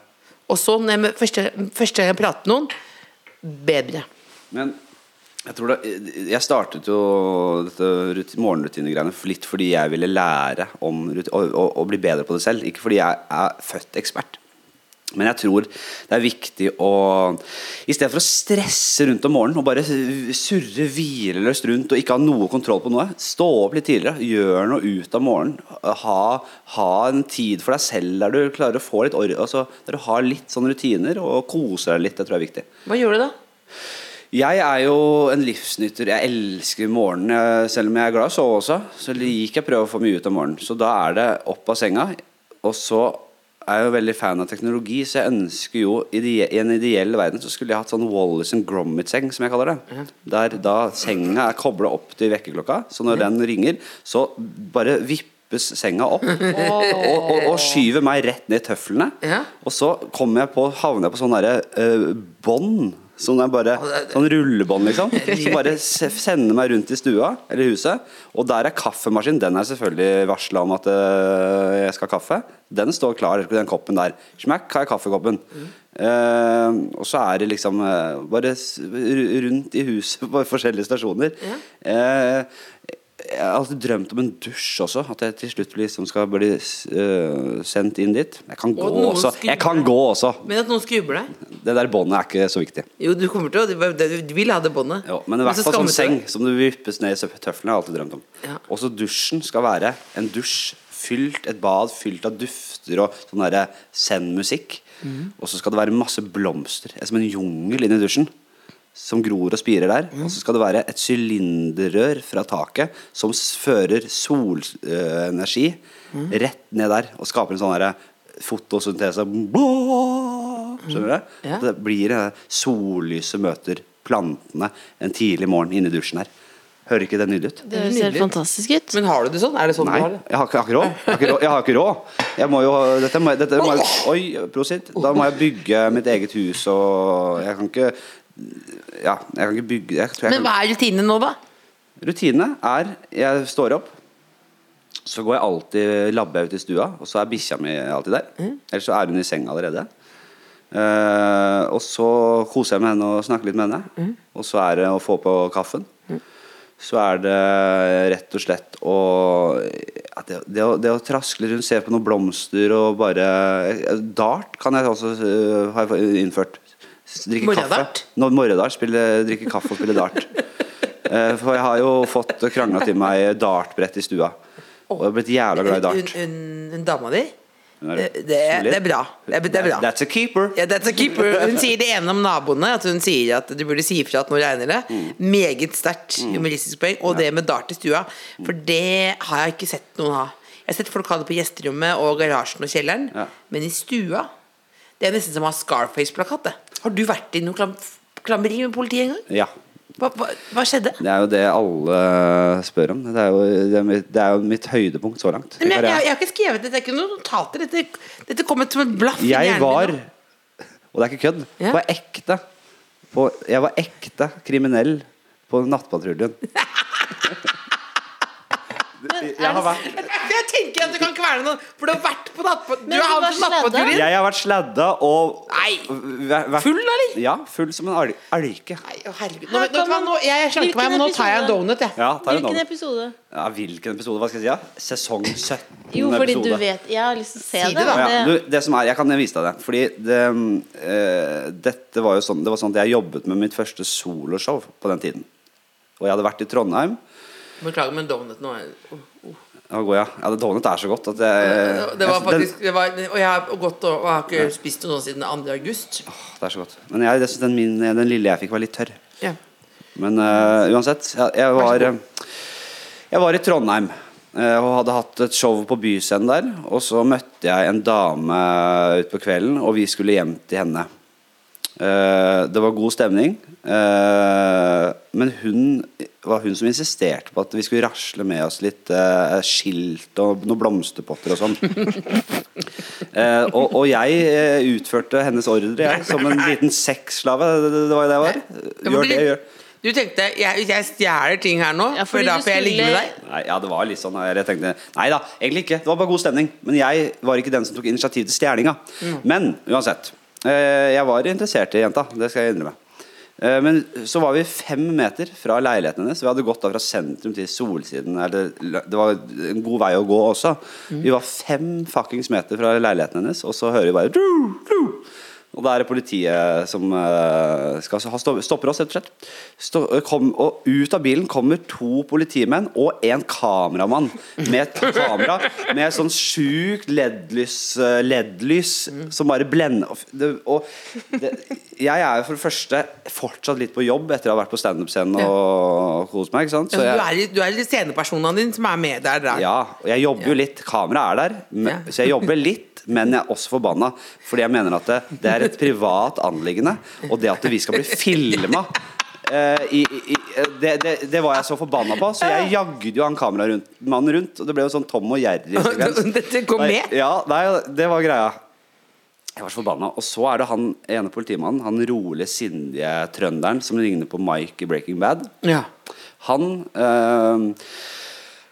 F: Og så, når jeg, mø- første, første gang jeg prater med noen, bedre.
D: Men jeg tror det, jeg startet jo dette ruti- morgenrutinegreiene litt fordi jeg ville lære om ruti- å, å, å bli bedre på det selv. Ikke fordi jeg er født ekspert. Men jeg tror det er viktig å I stedet for å stresse rundt om morgenen og bare surre hvileløst rundt og ikke ha noe kontroll på noe, stå opp litt tidligere. Gjør noe ut av morgenen. Ha, ha en tid for deg selv der du klarer å få litt or altså, Der du har litt sånne rutiner og koser deg litt. Det tror jeg er viktig.
F: Hva gjorde du da?
D: Jeg er jo en livsnytter. Jeg elsker morgenen, jeg- selv om jeg er glad i å sove også. Så liker jeg å prøve å få mye ut av morgenen. Så da er det opp av senga. Og så er jeg jo veldig fan av teknologi, så jeg ønsker jo ide- I en ideell verden så skulle jeg hatt sånn Wallis and Gromit-seng, som jeg kaller det. Der da senga er kobla opp til vekkerklokka, så når den ringer, så bare vipper vippes senga opp og, og, og skyver meg rett ned i tøflene.
F: Ja.
D: Og så kommer jeg på, havner jeg på sånn derre eh, bånd. Sånn, der bare, sånn rullebånd, liksom. Som bare se- sender meg rundt i stua eller huset. Og der er kaffemaskinen. Den er selvfølgelig varsla om at eh, jeg skal ha kaffe. Den står klar, den koppen der. Smekk, har jeg kaffekoppen. Eh, og så er det liksom eh, bare s- ru- rundt i huset på forskjellige stasjoner. Eh, jeg har alltid drømt om en dusj også. At jeg til slutt liksom skal bli eh, sendt inn dit. Jeg kan gå
F: noen
D: også.
F: skulle-
D: Jeg kan gå også.
F: Men at noen skubber deg?
D: Det der båndet er ikke så viktig.
F: Jo, du kommer til å Du vil ha det båndet.
D: Jo, men i hvert
F: så
D: fall sånn
F: skammer
D: seng
F: du deg.
D: som du vippes ned i søpp- tøflene, har jeg alltid drømt om.
F: Ja.
D: Også dusjen skal være en dusj fylt, et bad fylt av dufter og sånn derre zen-musikk.
F: Mhm.
D: Og så skal det være masse blomster, eh, som en jungel inni dusjen. Som gror og spirer der.
F: Mhm.
D: Og så skal det være et sylinderrør fra taket som s- fører solenergi
F: Mhm.
D: rett ned der og skaper en sånn derre fotosyntese. Blå! Skjønner du? det?
F: Ja.
D: At det blir det sollyset møter plantene en tidlig morgen inne i dusjen her. Hører ikke det nydelig ut?
E: Det høres helt fantastisk ut.
F: Men har du det sånn? Er det sånn
D: Nei,
F: du har det?
D: jeg har ikke, jeg har ikke råd. Jeg har ikke råd. Jeg, har ikke råd. jeg må jo dette må, jeg- dette må jeg, Oi, prosit. Da må jeg bygge mitt eget hus og Jeg kan ikke Ja, jeg kan ikke bygge jeg tror jeg
F: Men
D: kan,
F: hva er rutinene nå, da?
D: Rutine er Jeg står opp. Så går jeg alltid labber jeg ut i stua, og så er bikkja mi alltid der. Ellers så er hun i senga allerede. Eh, og så koser jeg med henne og snakker litt med henne. Og så er det å få på kaffen. Så er det rett og slett å ja, det, det, å, det å traske litt rundt, se på noen blomster og bare eh, Dart kan jeg også eh, ha innført. S- Drikke
F: Morgendart?
D: kaffe. Nå- Morgendart. spille- Drikke kaffe og spille dart. Eh, For jeg har jo fått krangla til meg dartbrett i stua. Og jeg har blitt jævla glad i dart.
F: Hun, hun, hun dama di?
D: Hun er
F: Det, det, er,
D: solid.
F: det er bra. Det er, det er bra.
D: That's a keeper.
F: Ja, that's a keeper. Hun sier det ene om naboene, at hun sier at du burde si ifra at nå regner det. Meget sterkt humoristisk poeng. Og det med dart i stua, for det har jeg ikke sett noen ha. Jeg har sett folk ha det på gjesterommet og garasjen og kjelleren,
D: Ja.
F: men i stua Det er nesten som å ha Scarface-plakat. det. Har du vært i noe klam klammeri med politiet en
D: Ja.
F: gang? Hva, hva, hva skjedde?
D: Det er jo det alle spør om. Det er jo, det er mitt, det er jo mitt høydepunkt så langt. i
F: Men jeg, jeg,
D: karrieren.
F: jeg har ikke skrevet dette, det er ikke noen notater. Dette, dette kom som et blaff i
D: Jeg
F: hjernen min
D: var
F: nå.
D: Og det er ikke kødd.
F: Ja.
D: Var ekte. På, jeg var ekte kriminell på Nattpatruljen. Jeg har, vært,
F: Jeg tenker at du kan kvele noen, for du har vært på nattpå- Du
E: Men
F: har
E: hva
F: hatt
E: skjedde?
F: nattpatruljen.
D: jeg har vært sladda og
F: Nei.
D: væ- vært-
F: Full, eller?
D: Ja, full som en al- alke.
F: Nei, å herregud. Nå,
E: Her
F: vet du hva,
E: kommer-
F: nå, jeg jeg slanker meg,
E: Hvilken
F: men nå tar jeg en
E: episode?
F: donut, jeg.
D: Ja, ta en
E: Hvilken
D: annen.
E: episode?
D: Ja, hvilken episode? Hva skal jeg si? Ja? Sesong 17.
E: Jo, fordi du
D: episode.
E: vet Jeg har lyst til å se
F: Si det,
E: det.
F: da.
D: Ja,
E: det.
D: du, det som er, jeg kan vise deg det. Fordi det, mm, eh, dette var jo sånn, det var sånn at jeg jobbet med mitt første soloshow på den tiden. Og jeg hadde vært i Trondheim.
F: Beklager, men donut nå er
D: Da går jeg. Ja, det donut er så godt at jeg
F: Det var
D: jeg-
F: faktisk det var, Og jeg har gått og, og har ikke spist noe sånn siden 2. august.
D: den, Det er så godt. Men jeg, jeg synes den, min, den lille jeg fikk, var litt tørr.
F: Ja.
D: Men eh, uansett, jeg, jeg var eh, Jeg var i Trondheim eh, og hadde hatt et show på Byscenen der. Og så møtte jeg en dame eh, utpå kvelden, og vi skulle hjem til henne. Eh, det var god stemning, eh, men hun var hun som insisterte på at vi skulle rasle med oss litt eh, skilt og noen blomsterpotter og sånn. Eh, og, og jeg eh, utførte hennes ordre, jeg, som en liten sexslave. Det, det, det var jo det jeg var. Eh, Gjør det, gjør
F: Du tenkte jeg, jeg stjeler ting her nå,
E: Ja,
F: for
E: fordi
F: da
E: du
F: får jeg ligge med
E: skulle-
F: deg.
D: Nei, ja, det var litt sånn Jeg tenkte, nei da, egentlig ikke Det var bare god stemning Men jeg var ikke den som tok initiativ til stjerninga Men, uansett eh, Jeg var interessert i jenta, det skal jeg innrømme Eh, men så var vi fem meter fra leiligheten hennes Vi hadde gått da fra sentrum til solsiden eller, Det var en god vei å gå også Vi var fem fuckings meter fra leiligheten hennes Og så hører vi bare «Dru, dru». Og da er det politiet som eh, skal ha stopp, stopper oss, rett og slett. Stå, eh, kom, og ut av bilen kommer to politimenn og en kameramann med et kamera med sånn sjukt LED-lys eh, LED-lys som bare blender og f- det, og det, Jeg er jo for det første fortsatt litt på jobb etter å ha vært på standup-scenen og, og kost meg. Ikke sant?
F: Du
D: Så jeg,
F: er, litt- du er litt scenepersonene dine som er med der. der.
D: ja, og jeg jobber jo litt. Kameraet er der, men,
F: Ja.
D: så jeg jobber litt. Men jeg er også forbanna, fordi jeg mener at det, det er et privat anliggende. Og det at vi skal bli filma eh, i, i, i- det, det, det var jeg så forbanna på, så jeg jagde jo han kameramannen rundt. Og det ble jo sånn Tom og Jerry-sekvens.
F: Dette kom
D: Nei,
F: med?
D: Ja, nei, det var greia. Jeg var så forbanna. Og så er det han ene politimannen, han rolig sindige trønderen som ligner på Mike i Breaking Bad.
F: Ja.
D: Han eh,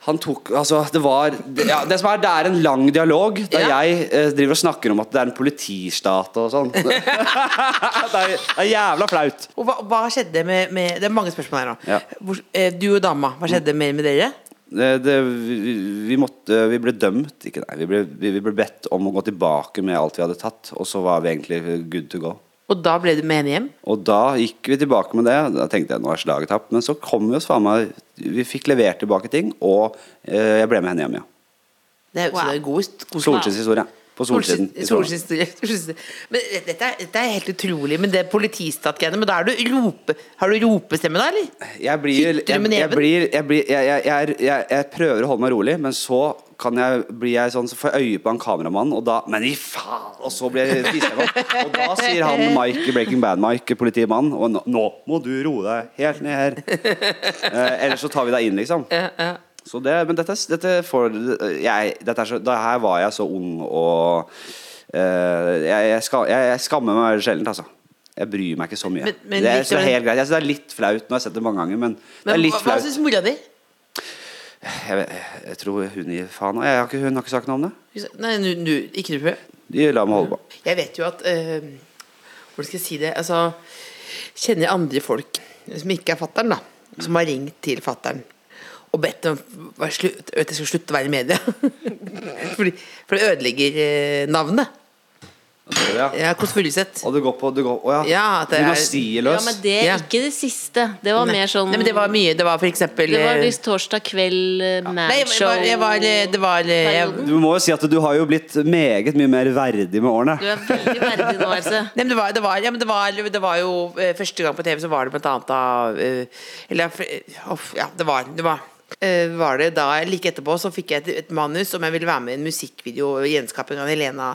D: han tok, altså Det var det, ja, det, som er, det er en lang dialog der
F: Ja.
D: jeg eh, driver og snakker om at det er en politistat og sånn. det, er, det er jævla flaut.
F: Og hva, hva skjedde med, med Det er mange spørsmål her nå.
D: Ja. Mm.
F: Hvor, eh, du og dama, hva skjedde med, med dere?
D: Det, det, vi, vi, måtte, vi ble dømt Ikke nei, vi ble, vi, vi ble bedt om å gå tilbake med alt vi hadde tatt. Og så var vi egentlig good to go.
F: Og da ble du med henne hjem?
D: Og da gikk vi tilbake med det. Da tenkte jeg nå er slaget tapt. Men så kom vi oss faen meg Vi fikk levert tilbake ting, og eh, jeg ble med henne hjem, ja.
F: Det er jo så det er god, god
D: Solskinns historie. På Solsiden. i Trondheim.
F: Solskinns- solskinnshistorie. Men dette, er- dette er helt utrolig. Men det er politistatgreiene Men da er du rope, har du ropestemme, da, eller?
D: Jeg blir,
F: Sitter du
D: jeg,
F: med
D: jeg,
F: neven?
D: blir, jeg, blir jeg, jeg, jeg, jeg, jeg prøver å holde meg rolig, men så kan jeg bli jeg sånn, så får jeg øye på en kameramann, og da Men i faen! Og så blir jeg fiser jeg meg opp. Og da sier han Mike i Breaking Bad, Mike, politimannen, og nå, nå må du roe deg helt ned her. Eh, ellers så tar vi deg inn, liksom. Så det, men dette, dette får jeg, dette er så, da Her var jeg så ung og eh, jeg, jeg, skal, jeg, jeg skammer meg sjelden, altså. Jeg bryr meg ikke så mye.
F: Men- men
D: det, er,
F: likte
D: så
F: du-
D: helt greit. Jeg synes det er litt flaut når jeg har sett det mange ganger, men, det
F: Men,
D: er litt
F: hva hva
D: flaut.
F: syns mora di?
D: Jeg, vet- jeg tror hun gir faen. Jeg har ikke, hun har ikke sagt noe om det.
F: Nei, nu, nu, ikke du prøv.
D: De lar meg holde på.
F: Jeg vet jo at eh, Hvordan skal jeg si det? Altså, kjenner andre folk som ikke er fattern, da. Som har ringt til fattern og bedt om hva- slutt, at jeg skal slutte å være i media. Fordi, for det ødelegger eh, navnet.
D: Ja.
F: Ja, Kåss Furuseth.
D: Og du går på du går, Å ja.
F: Ja, at det er-
D: Dynastiet
E: Ja,
D: løs.
E: men det er
F: Ja.
E: ikke det siste. Det var mer sånn
F: Nei, men det var mye. Det var for eksempel
E: Det var
F: eh,
E: visst torsdag kveld, eh,
F: Nei, jeg
E: manshow
F: var, jeg var, eh, det var jeg,
E: Perioden.
D: Du må jo si at du har jo blitt meget mye mer verdig med årene.
E: Du er veldig verdig nå, Else.
F: Nei, men det var, det var, ja, men det var, det var jo eh, Første gang på TV så var det blant annet da eh, Eller eh, uff, Ja, det var, det var eh, var det da, Like etterpå så fikk jeg et, et manus om jeg ville være med i en musikkvideo. Gjenskaping av Helena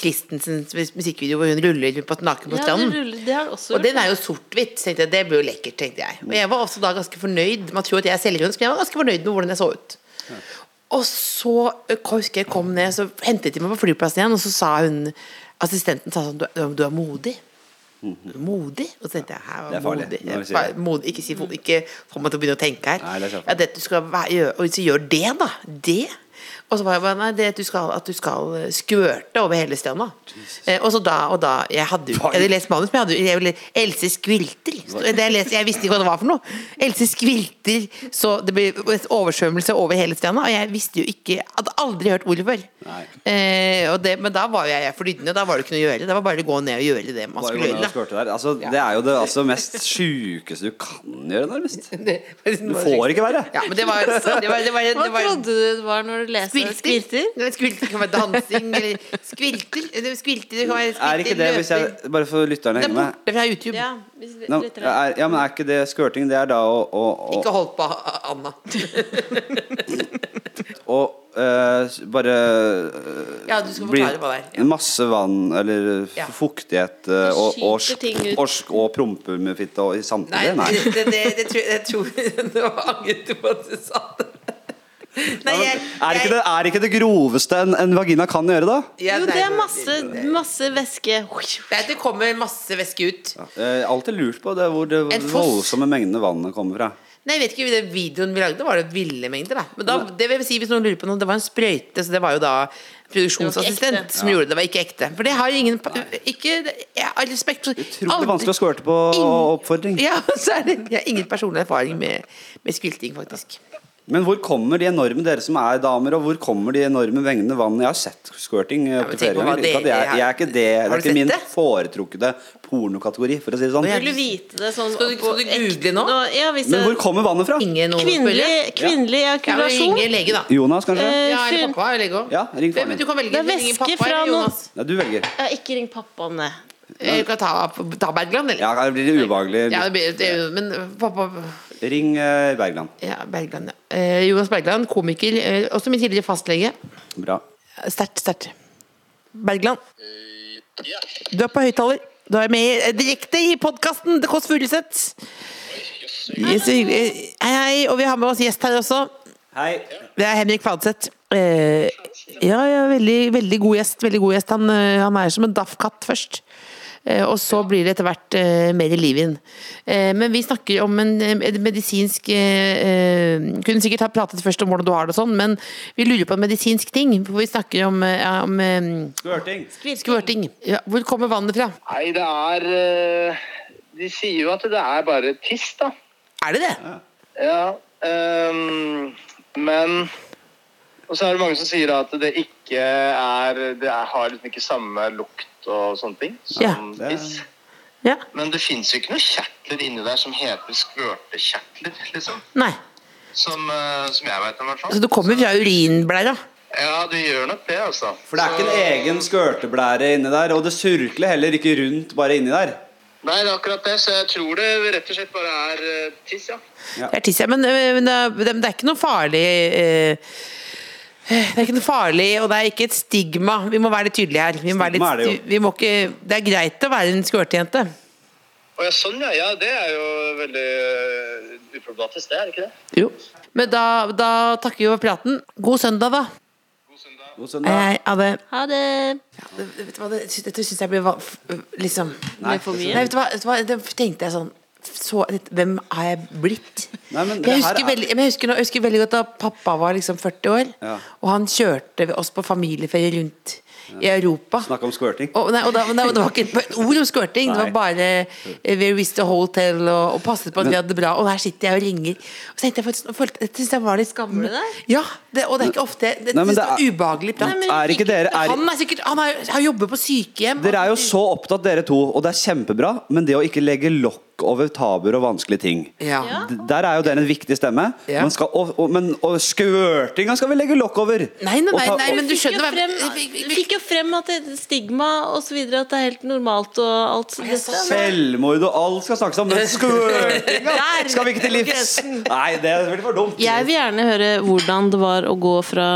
F: Christensens mus- musikkvideo hvor hun ruller på naken på
E: Ja, du
F: stranden.
E: ruller, det har du også
F: Og den er jo sort-hvitt. så tenkte jeg, Det blir jo lekkert, tenkte jeg. Og jeg var også da ganske fornøyd. Man tror at jeg er selvironisk, men jeg var ganske fornøyd med hvordan jeg så ut. Og så eh, husker jeg kom ned, så hentet de meg på flyplassen igjen, og så sa hun Assistenten sa sånn Du, er- du er modig. Du er Modig? Og så tenkte jeg Hæ,
D: Det er farlig,
F: modig?
D: når du sier
F: Bare
D: det. Mm.
F: modig. Ikke, si, ikke få meg til å begynne å tenke her.
D: Nei, det er kjempe-
F: ja, det at du skal væ- gjøre, Og så gjør det, da. Det. Og så var jeg bare Nei, det at du skal, at du skal eh, skvørte over hele stranda. Eh, og så da og da Jeg hadde jo
D: Var
F: jeg
D: det-
F: hadde lest manus, men jeg hadde jo jeg ville- Else Skvilter. Så Det jeg, leste, jeg visste ikke hva det var for noe. Else Skvilter, så det ble oversvømmelse over hele stranda. Og jeg visste jo ikke jeg Hadde aldri hørt ordet før.
D: Nei.
F: Eh, og det, men da var jo jeg flytende, og da var det ikke noe å gjøre. Det var bare å gå ned og gjøre det man
D: Bare
F: skulle
D: gå ned og
F: gjøre. da.
D: squirte der. Altså, det er jo det altså, mest sjukeste du kan gjøre, nærmest.
F: Det- liksom
D: Du får ikke verre.
F: Ja, men det var, det var, det var, det var,
E: Hva trodde du det var når du leste
F: Skvilter?
E: Skvilter?
F: Nei, Skvilter kan være dansing eller Skvilter? eller Skvilter det kan være skvilter,
D: Er ikke det, hvis jeg,
F: løping.
D: bare for lytterne å
F: Det er
D: henge med
F: borte fra YouTube.
E: Ja, hvis vi-
D: Nå,
E: lytter her.
D: er, ja, men er ikke det squirting? Det er da å, å, å,
F: Ikke hold på, Anna.
D: å eh, bare eh,
F: Ja, du skal
D: bli-
F: forklare hva det er. Ja.
D: Masse vann eller eh, f-
F: Ja.
D: fuktighet eh, og,
E: skyter
D: og,
E: ting
D: sk-
E: ut.
D: og, sk- og prompefitte og, i
F: Nei,
D: samtidig? Nei.
F: Det, det, det, det tror, jeg tror Nå angret du på at du sa det. Nei, jeg,
D: Er ikke, det, er ikke det groveste en, en vagina kan gjøre, da?
F: Ja,
E: Jo,
F: nei,
E: det er masse,
F: det-
E: masse væske.
F: Det er at det kommer masse væske ut.
D: Jeg har alltid Eh, lurt på det, hvor det
F: En foss.
D: voldsomme mengdene vannet kommer fra.
F: Nei, jeg vet ikke, i den videoen vi lagde, var det ville mengder, da. Men da, det vil si, hvis noen lurer på noe, det var en sprøyte, så det var jo da
E: Det var ikke
F: produksjonsassistent
E: ekte.
F: som gjorde det. Det var ikke ekte. For det har ingen Ikke Jeg har respekt for
D: Utrolig vanskelig å squirte på oppfordring.
F: Ja, så er det Jeg har ingen personlig erfaring med, med skvilting, faktisk.
D: Men hvor kommer de enorme dere som er damer, og hvor kommer de enorme mengdene vann? Jeg har sett squirting eh,
F: men
D: opptil
F: tenk
D: flere ganger.
F: på hva
D: Ikke at
F: dere
D: jeg, jeg er ikke det, det
F: Har
D: er
F: du
D: ikke
F: sett
D: min
F: det?
D: foretrukne pornokategori, for å si det sånn.
E: Vil du vite det sånn
F: Skal du- skal du
E: på
F: google
E: ekte
F: nå?
E: Ja, hvis
D: Men
E: jeg-
D: hvor kommer vannet fra?
F: Ingen
E: Kvinnelig, kvinnelig sånn.
F: Ja, men
E: ejakulasjon.
F: ringer lege, da.
D: Jonas, kanskje?
E: Eh,
F: Ja, eller
E: Fun-
F: pappa. Eller lege også.
D: Ja, ring faren
F: Men
D: din.
F: Du kan velge.
E: Det er
F: Du ringer
E: væske
F: pappa
E: fra
F: eller
E: noen-
F: Jonas.
D: Ja, du velger.
E: Ja, ikke ring pappa om det.
F: Eh, Du kan ta, ta Bergland, eller?
D: Ja, her blir det ubehagelig.
F: Ja, det blir- det- men eh, pappa
D: Ring eh, Bergland.
F: ja, Bergland, ja. Eh, Jonas Bergland, komiker. eh, Også min tidligere fastlege.
D: Bra.
F: Sterkt, sterkt. Bergland. eh, Du er på høyttaler. Du er med i- direkte i podkasten The Kåss Furuseth. Yes, så hyggelig. Hei, hei, og vi har med oss gjest her også.
D: Hei.
F: Det er Henrik Fladseth. Eh, ja, ja veldig, veldig god gjest. Veldig god gjest. Han, eh, han er som en daff-katt først. Eh, og så blir det etter hvert eh, mer i livet inn. Eh, men vi snakker om en eh, medisinsk eh, eh, Kunne sikkert ha pratet først om hvordan du har det og sånn, men vi lurer på en medisinsk ting. For vi snakker om, eh, ja, om eh,
D: Skvørting.
F: skvørting. Ja, hvor kommer vannet fra?
G: Nei, det er eh, De sier jo at det er bare tiss, da.
F: Er det det?
G: Ja. ehm, men Og så er det mange som sier at det ikke er Det er, har liksom ikke samme lukt og sånne ting som
D: Ja.
G: tiss.
F: Ja.
G: Men det fins jo ikke noen kjertler inni der som heter skvørtekjertler, liksom.
F: Nei.
G: Som, eh, som jeg veit om, i hvert
F: Så
D: Altså,
G: fall.
F: det kommer fra urinblæra?
G: Ja, det gjør nok det, altså.
D: For det er ikke en egen skørteblære inni der, og det surkler heller ikke rundt bare inni der.
G: Nei, det er akkurat det, så jeg tror det rett og slett bare er eh, tiss, ja.
F: Det er tiss, ja. Men, øh, men det, er- det er ikke noe farlig øh, Det er ikke noe farlig, og det er ikke et stigma. Vi må være litt tydelige her. Vi må være litt,
D: Stigma er det jo.
F: sti- vi må ikke, det er greit å være en skvørtejente.
G: Å ja, sånn ja. Ja, det er jo veldig eh, uproblematisk, det, er det ikke det?
F: Jo. Men da, da takker vi for praten. God søndag, da.
D: God søndag.
F: Hei, hei, ha det.
E: Ha det!
F: Det- Vet du hva, det, sy- dette syns jeg blir va- f- liksom
E: Nei, for mye.
F: Nei, vet du hva, vet du hva det tenkte jeg sånn så, Hvem har jeg blitt?
D: Nei, men det
F: jeg,
D: her
F: husker
D: er-
F: veldig, men jeg, husker, nå- jeg husker veldig godt da pappa var liksom 40 år,
D: Ja.
F: og han kjørte oss på familieferie rundt i Europa.
D: Snakk om skvørting.
F: Og, nei, og da, nei, og det var ikke et ord om squirting. Det
D: Nei.
F: var bare eh, Where is the hotel? Og, og passet på at vi hadde det bra. Og her sitter jeg og ringer. Og så tenkte jeg faktisk, og følte, Dette synes jeg var litt
E: Ble
F: skammelig.
E: det?
F: Ja, det, og det er ikke ofte Det,
D: Nei, men
F: synes
D: det
F: jeg var
D: er-
F: ubehagelig prat.
E: men
D: Er ikke dere er,
F: Han er sikkert Han har, har jobbet på sykehjem.
D: Dere er jo så opptatt, dere to, og det er kjempebra, men det å ikke legge lokk over tabuer og vanskelige ting
F: Ja.
D: D- Der er jo dere en viktig stemme.
F: Ja.
D: Man skal, og, og, men og skvørtinga skal vi legge lokk over!
F: Nei, nei,
D: Og
F: nei,
D: ta-
F: nei, men
E: Fikk
F: du
E: jo
F: skjønner hva
E: frem, fikk jo frem at det stigma og så videre, at det er helt normalt og alt så- dette.
D: Selvmord og alt skal snakkes om, men skvørtinga skal vi ikke til livs!
F: sånn.
D: Nei, det blir for dumt.
E: Jeg vil gjerne høre hvordan det var å gå fra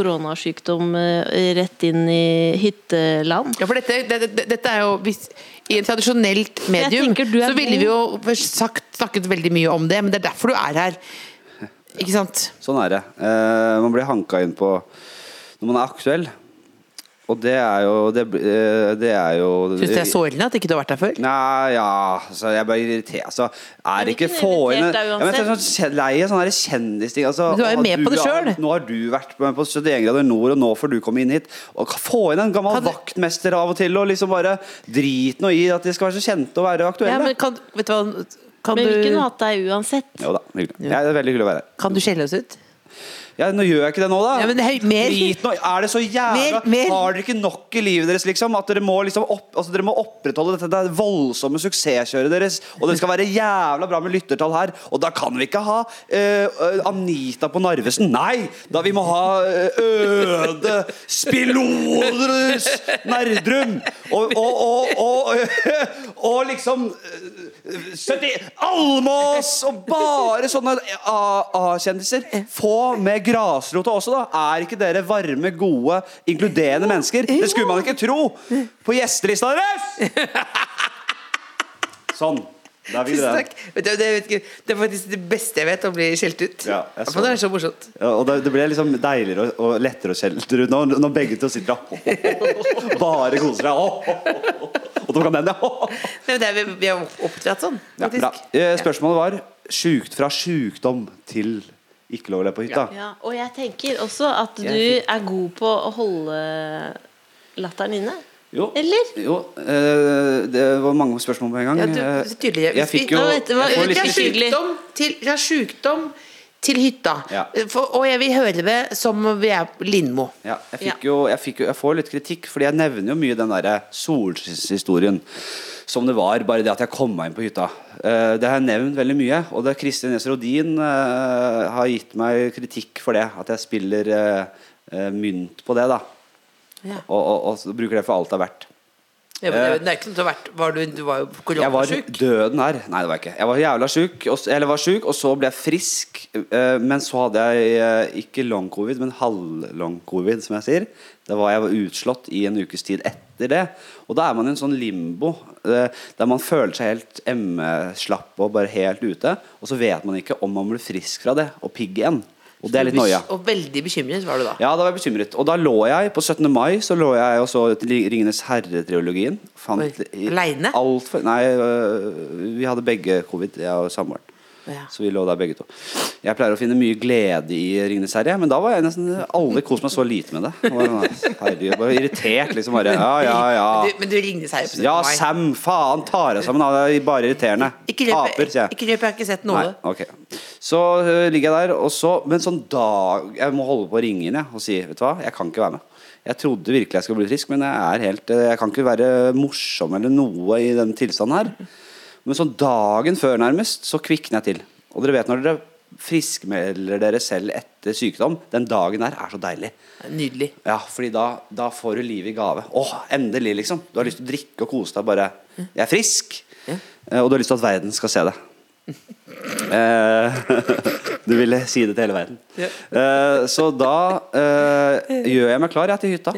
E: koronasykdom eh, rett inn i hytteland.
F: Ja, for dette, det, det, dette er jo hvis, I en tradisjonelt
E: jeg
F: medium
E: tenker du er
F: så ville
E: god.
F: vi jo først sagt, snakket veldig mye om det, men det er derfor du er her. Ikke sant?
D: Sånn er det. Eh, man blir hanka inn på når man er aktuell. Og det er jo Det, eh, det er jo
F: Syns det er sårende at ikke du har vært her før?
D: Nei, ja altså, Jeg blir irritert. Altså, er
E: blir
D: ikke
E: ikke
D: få inn
E: irritert da
D: Ja, men jeg er
E: uansett.
D: sånn kjen- lei av sånne her kjendisting. Altså,
F: Men du er jo
D: å,
F: med på det
D: har-
F: selv.
D: Nå har du vært med på 71 grader nord, og nå får du komme inn hit. Og k- Få inn en gammel
F: Kan du-
D: vaktmester av og til, og liksom bare drit noe i at de skal være så kjente og være aktuelle.
F: Ja, men kan, vet du hva kan
E: Men vi kunne
F: du,
E: hatt deg uansett.
D: Jo da, hyggelig. Ja, det er veldig hyggelig å være her.
F: kan du skjelle oss ut?
D: Ja, nå gjør jeg ikke det nå, da.
F: Ja, men det er mer-
D: Drit nå. Er det så jævla
F: Mer- mer-
D: Har dere ikke nok i livet deres, liksom? At dere må, liksom opp, altså, dere må opprettholde dette, det voldsomme suksesskjøret deres. Og det skal være jævla bra med lyttertall her. Og da kan vi ikke ha eh, eh, Anita på Narvesen. Nei! Da vi må ha eh, Øde Spilodrus Nerdrum! Og, og, og, og, og liksom eh, 70 Almås! Og bare sånne A-kjendiser. Få med grasrota også, da. Er ikke dere varme, gode, inkluderende mennesker? Det skulle man ikke tro på gjestelista deres! Sånn. Der fikk
F: Tusen
D: dere
F: takk.
D: den.
F: Vet du, det, vet ikke, det er faktisk det beste jeg vet, å bli skjelt ut.
D: Ja, jeg så
F: For det
D: det.
F: er så morsomt.
D: Ja, og det, det ble liksom deiligere og, og lettere å skjelte ut når, når begge to sitter og bare koser seg. Og tok han den, ja.
F: Nei, men det er, vi- vi er oppdratt sånn,
D: Ja,
F: faktisk.
D: bra. Eh, Spørsmålet var sjukt fra sjukdom til ikke lov å le på hytta.
E: Ja, og jeg tenker også at du er god på å holde latteren inne.
D: Jo.
E: Eller?
D: Jo. eh, Det var mange spørsmål på en gang.
F: Ja, du-
D: Eh,
F: det er tydelig.
D: Jeg fikk jo
E: Nå vet du hva,
D: jeg får
E: vet
D: litt
E: jeg
F: Fra
E: ikke.
D: kritikk.
E: tydelig.
F: sjukdom til, fra sjukdom til hytta.
D: Ja.
F: For, og jeg vil høre det som om vi er Lindmo.
D: Ja, jeg, fikk jo, jeg, fikk jo, jeg får litt kritikk, fordi jeg nevner jo mye den derre solskinnshistorien. Som det var, bare det at jeg kom meg inn på hytta. Eh, det har jeg nevnt veldig mye. Og det er Kristin Næss Rodin eh, har gitt meg kritikk for det. At jeg spiller eh, eh, mynt på det, da.
F: Ja.
D: Og, og, og så bruker det for alt det er verdt.
F: Ja, men det, det er ikke noe til å vært, var du, du var jo
D: Eh, Jeg var
F: koronasjuk.
D: døden her. Nei, det var jeg ikke. Jeg var jævla sjuk, og, s- eller var sjuk, og så ble jeg frisk. eh, Men så hadde jeg eh, ikke long covid, men halv-long covid, som jeg sier. Da var jeg var utslått i en ukes tid etter det. Og da er man i en sånn limbo eh, der man føler seg helt emmeslapp og bare helt ute. Og så vet man ikke om man blir frisk fra det og pigg igjen. Og det er litt noia.
F: Og veldig bekymret var du da.
D: Ja, da var jeg bekymret. Og da lå jeg på 17. mai så lå jeg og så Ringenes herre-triologien.
F: Oi, alene?
D: Alt for, nei, øh, vi hadde begge covid, jeg og samboeren.
F: Ja.
D: Så vi lå der begge to. Jeg pleier å finne mye glede i Ringenes herre, men da var jeg nesten aldri kost meg så lite med det. Det var sånn, Herregud, jeg var irritert, liksom. Bare, ja, ja,
F: Men
D: ja.
F: du, men du ringte seg på 17.
D: Ja,
F: mai.
D: Sam, faen, tar jeg sammen. han er Bare irriterende.
F: Ikke røp,
D: Taper, sier jeg.
F: Ikke røp, jeg har ikke sett noe.
D: Nei, ok Så øh, ligger jeg der, og så Men sånn dag Jeg må holde på å ringe inn jeg, og si Vet du hva, jeg kan ikke være med. Jeg trodde virkelig jeg skulle bli frisk, men jeg er helt øh, Jeg kan ikke være morsom eller noe i den tilstanden her. Men sånn dagen før nærmest, så kvikner jeg til. Og dere vet når dere friskmelder dere selv etter sykdom, den dagen der er så deilig.
F: Nydelig.
D: Ja, fordi da, da får du livet i gave. Åh, endelig, liksom. Du har lyst til å drikke og kose deg. Bare Jeg er frisk! Eh, Og du har lyst til at verden skal se det. Eh, du ville si det til hele verden. Eh, så da eh, gjør jeg meg klar jeg, til hytta.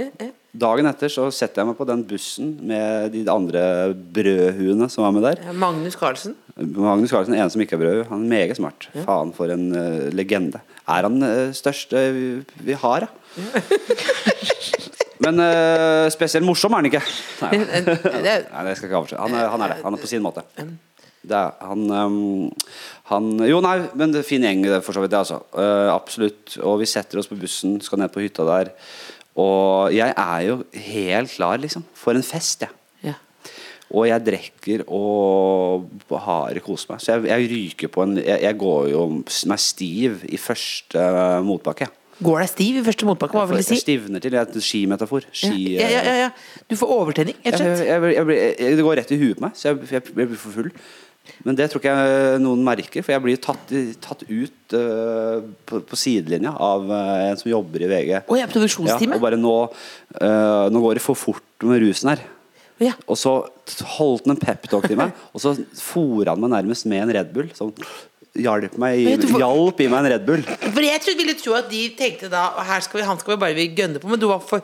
D: Dagen etter så setter jeg meg på den bussen med de andre brødhuene som var med der.
F: Ja, Magnus Carlsen.
D: Magnus Carlsen, en som ikke er brød, han er meget smart. Faen, for en eh, legende. Er han uh, største vi, vi har, ja. Men eh, spesielt morsom er han ikke. Nei,
F: En- en- det er-
D: nei det skal jeg ikke avsløre. Han, er- han er det. Han er på sin måte. Det er, han, ehm, han Jo, nei, men det er fin gjeng, det, for så vidt. Det, altså. Eh, absolutt. Og vi setter oss på bussen, skal ned på hytta der. Og jeg er jo helt klar, liksom. For en fest, jeg.
F: Ja.
D: Og jeg drikker og har kost meg. Så jeg, jeg ryker på en Jeg, jeg går jo s- meg stiv i første eh, motbakke.
F: Går deg stiv i første motbakke, hva vil
D: Jeg
F: det si?
D: stivner til. Det er en skimetafor.
F: Ja,
D: Ski, eh,
F: ja, ja, ja. Du får overtenning, rett og
D: Jeg,
F: slett.
D: jeg, jeg, blir- jeg, det går rett i huet på meg, så jeg, jeg, jeg blir for full. Men det tror ikke jeg noen merker, for jeg blir tatt, i- tatt ut eh, på, på sidelinja av eh, en som jobber i VG.
F: Å, ja, produksjonsteamet?
D: og bare nå, eh, nå går det for fort med rusen her.
F: Ja.
D: Og så t- holdt han en peptalk til meg, og så fôra han meg nærmest med en Red Bull. Sånn, hjalp, meg, i-
F: Vet du hva-
D: hjalp i meg en Red Bull.
F: For jeg trodde, ville tro at de tenkte da «Å, her skal vi, Han skal vi bare vi gønne på, men du var for,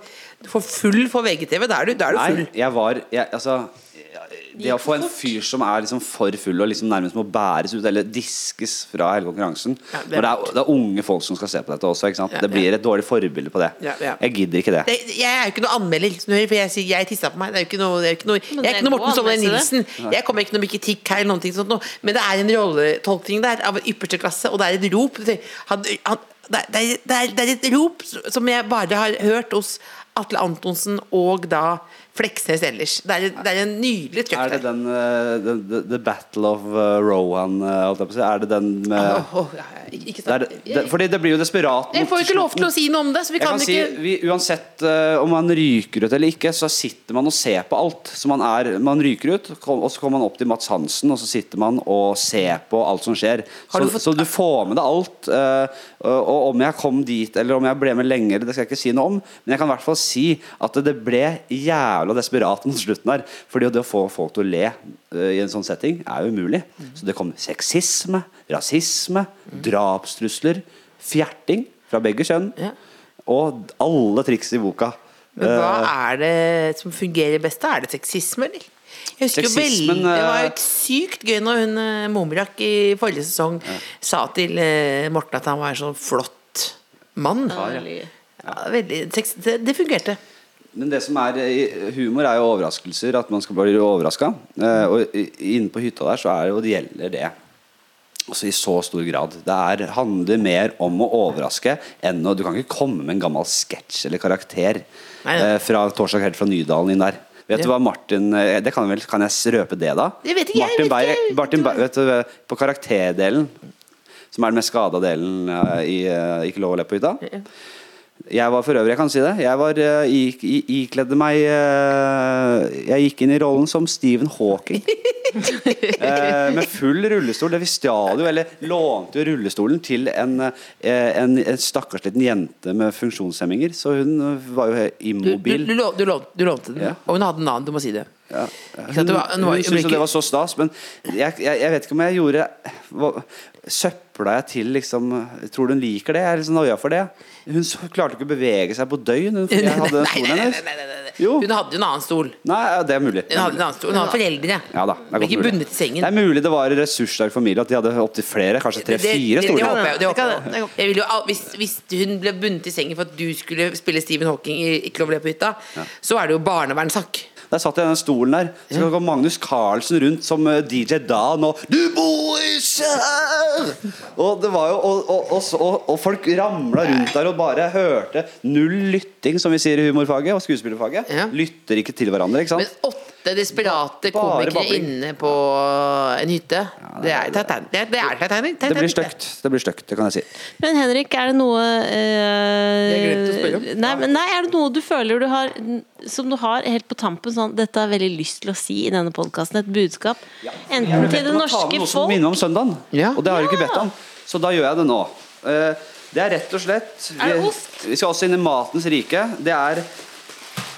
F: for full for VGTV. Da er du, da er du full.
D: Nei, jeg var jeg, Altså det å få en fyr som er liksom for full og liksom nærmest må bæres ut eller diskes fra hele konkurransen
F: Ja, det
D: det er,
F: er
D: det, er, det er unge folk som skal se på dette også. Ikke sant?
F: Ja,
D: det blir et dårlig forbilde på det.
F: Ja, ja.
D: Jeg gidder ikke det.
F: Det, jeg er jo ikke noe anmelder, som du hører, for jeg sier jeg tissa på meg. Det er jo ikke noe, det er jo ikke noe, jeg
E: det
F: er
E: er
F: ikke noe
E: god
F: Morten Solveig
E: anmeldelse,
F: Nilsen. Jeg kommer ikke noe med kritikk her, eller noen ting sånt noe. men det er en rolletolkning der av ypperste klasse, og det er et rop. Det- Han, han, det, er, det, er, det er et rop som jeg bare har hørt hos Atle Antonsen og da Fleksnes ellers. Det er, det er en nydelig trøkk
D: Er det
F: der.
D: den eh, the, the, the Battle of eh, Rohan eh, holdt jeg på å si? Er det den med
F: Åh, åh, ja, ja, ikke- ikke
D: det er,
F: sant.
D: det, Fordi det blir jo desperat
F: Jeg
D: mot
F: får jo ikke lov
D: slutten.
F: til å si noe om det, så vi
D: Jeg
F: kan,
D: kan si,
F: ikke
D: vi, Uansett eh, om man ryker ut eller ikke, så sitter man og ser på alt. Så man, er, man ryker ut, kom, og så kommer man opp til Mats Hansen, og så sitter man og ser på alt som skjer. Så
F: Har du
D: du,
F: fått-
D: så du får med deg alt. eh, og og om jeg kom dit, eller om jeg ble med lenge, eller det skal jeg ikke si noe om. Men jeg kan i hvert fall si at det ble jævla desperat mot slutten her. Fordi det å få folk til å le eh, i en sånn setting er jo umulig.
F: Mhm.
D: Så det kom sexisme, rasisme, drapstrusler, fjerting fra begge kjønn.
F: Ja.
D: Og alle triks i boka.
F: Men
D: eh,
F: hva er det som fungerer best? da? Er det sexisme, eller? Jeg husker jo
D: Sexismen,
F: veldig, Det var
D: eh,
F: jo sykt gøy når hun eh, Momrak i forrige sesong sa til eh, Morten at han var en sånn flott mann.
D: ja.
F: Ja, veldig, sex, det, det fungerte.
D: Men det som er eh, humor, er jo overraskelser. At man skal bli overraska. Og i- inne på hytta der så er det jo det gjelder det. Altså I så stor grad. Det er, handler mer om å overraske enn å Du kan ikke komme med en gammel sketsj eller karakter
F: Nei, nei.
D: eh, fra Torsdag kveld fra Nydalen inn der. Vet du
F: Ja.
D: hva Martin eh, det kan, vel, kan jeg røpe det, da?
F: Jeg vet ikke, jeg
D: Martin
F: vet
D: Beyer-
F: ikke.
D: Martin Beyer- vet du, eh, På karakterdelen, som er den mest skada delen eh, i eh, Ikke lov å le på hytta, Jeg var for øvrig, jeg kan si det. Jeg var, eh, gikk, i- ikledde meg eh, Jeg gikk inn i rollen som Stephen Hawking. Eh, med full rullestol. Det visste jeg jo. Eller lånte jo rullestolen til en, eh, en, en stakkars liten jente med funksjonshemminger. Så hun eh, var jo he-
F: Du, du,
D: immobil.
F: du, lå- du, lånte, du lånte den,
D: Ja.
F: og hun hadde en annen. Du må si det. Ikke sant, det var- det var-
D: Hun syntes jo det var så stas, men jeg, jeg, jeg vet ikke om jeg gjorde hva, Søpla jeg til liksom Tror du hun liker det? Jeg er litt sånn nøya for det. Hun s- klarte ikke å bevege seg på døgn. Hun, jeg hadde den
F: Nei,
D: stolen
F: nei, nei,
D: hennes.
F: nei, nei, nei, nei.
D: Jo.
F: Hun hadde jo en annen stol.
D: Nei, ja, det er mulig.
F: Hun hadde en annen stol, hun hadde foreldre.
D: Ja da, det er
F: Ble
D: godt
F: ikke
D: mulig.
F: bundet til sengen.
D: Det er mulig det var i ressurssterk familie at de hadde opptil flere, kanskje tre-fire
F: det, det, det håper
D: stoler.
F: jeg, det håper jeg. også. jeg vil jo, al- hvis, hvis hun ble bundet i sengen for at du skulle spille Stephen Hawking i Ikke lov å le på hytta, så er det jo barnevernssak.
D: Der satt jeg i den stolen der. Så kom Magnus Carlsen rundt som eh, DJ Dan og Du bor ikke her! Og det var jo Og, og, og, så- og, og folk ramla rundt der og bare hørte null lytting, som vi sier i humorfaget og skuespillerfaget.
F: Ja.
D: Lytter ikke til hverandre, ikke
F: Men
D: sant?
F: åtte desperate
D: Ba- bare
F: komikere
D: babling.
F: inne på en hytte, det er Titanic. Det er- det er Titanic.
D: Det blir
F: Titanic.
D: stygt. Det blir stygt, det kan jeg si.
E: Men Henrik, er det noe eh,
F: Jeg glemte å spørre om.
E: Nei, men nei, er det noe du føler du har Som du har helt på tampen sånn Dette har jeg veldig lyst til å si i denne podkasten. Et budskap. Enten til det
D: Jeg må ta med
E: norske
D: noe som
E: folk
D: minner om søndagen.
F: Ja.
D: Og det har du ikke bedt om. Så da gjør jeg det nå. Eh, Det er rett og slett
E: Er det
D: vi-
E: ost?
D: Vi skal også inn i matens rike. Det er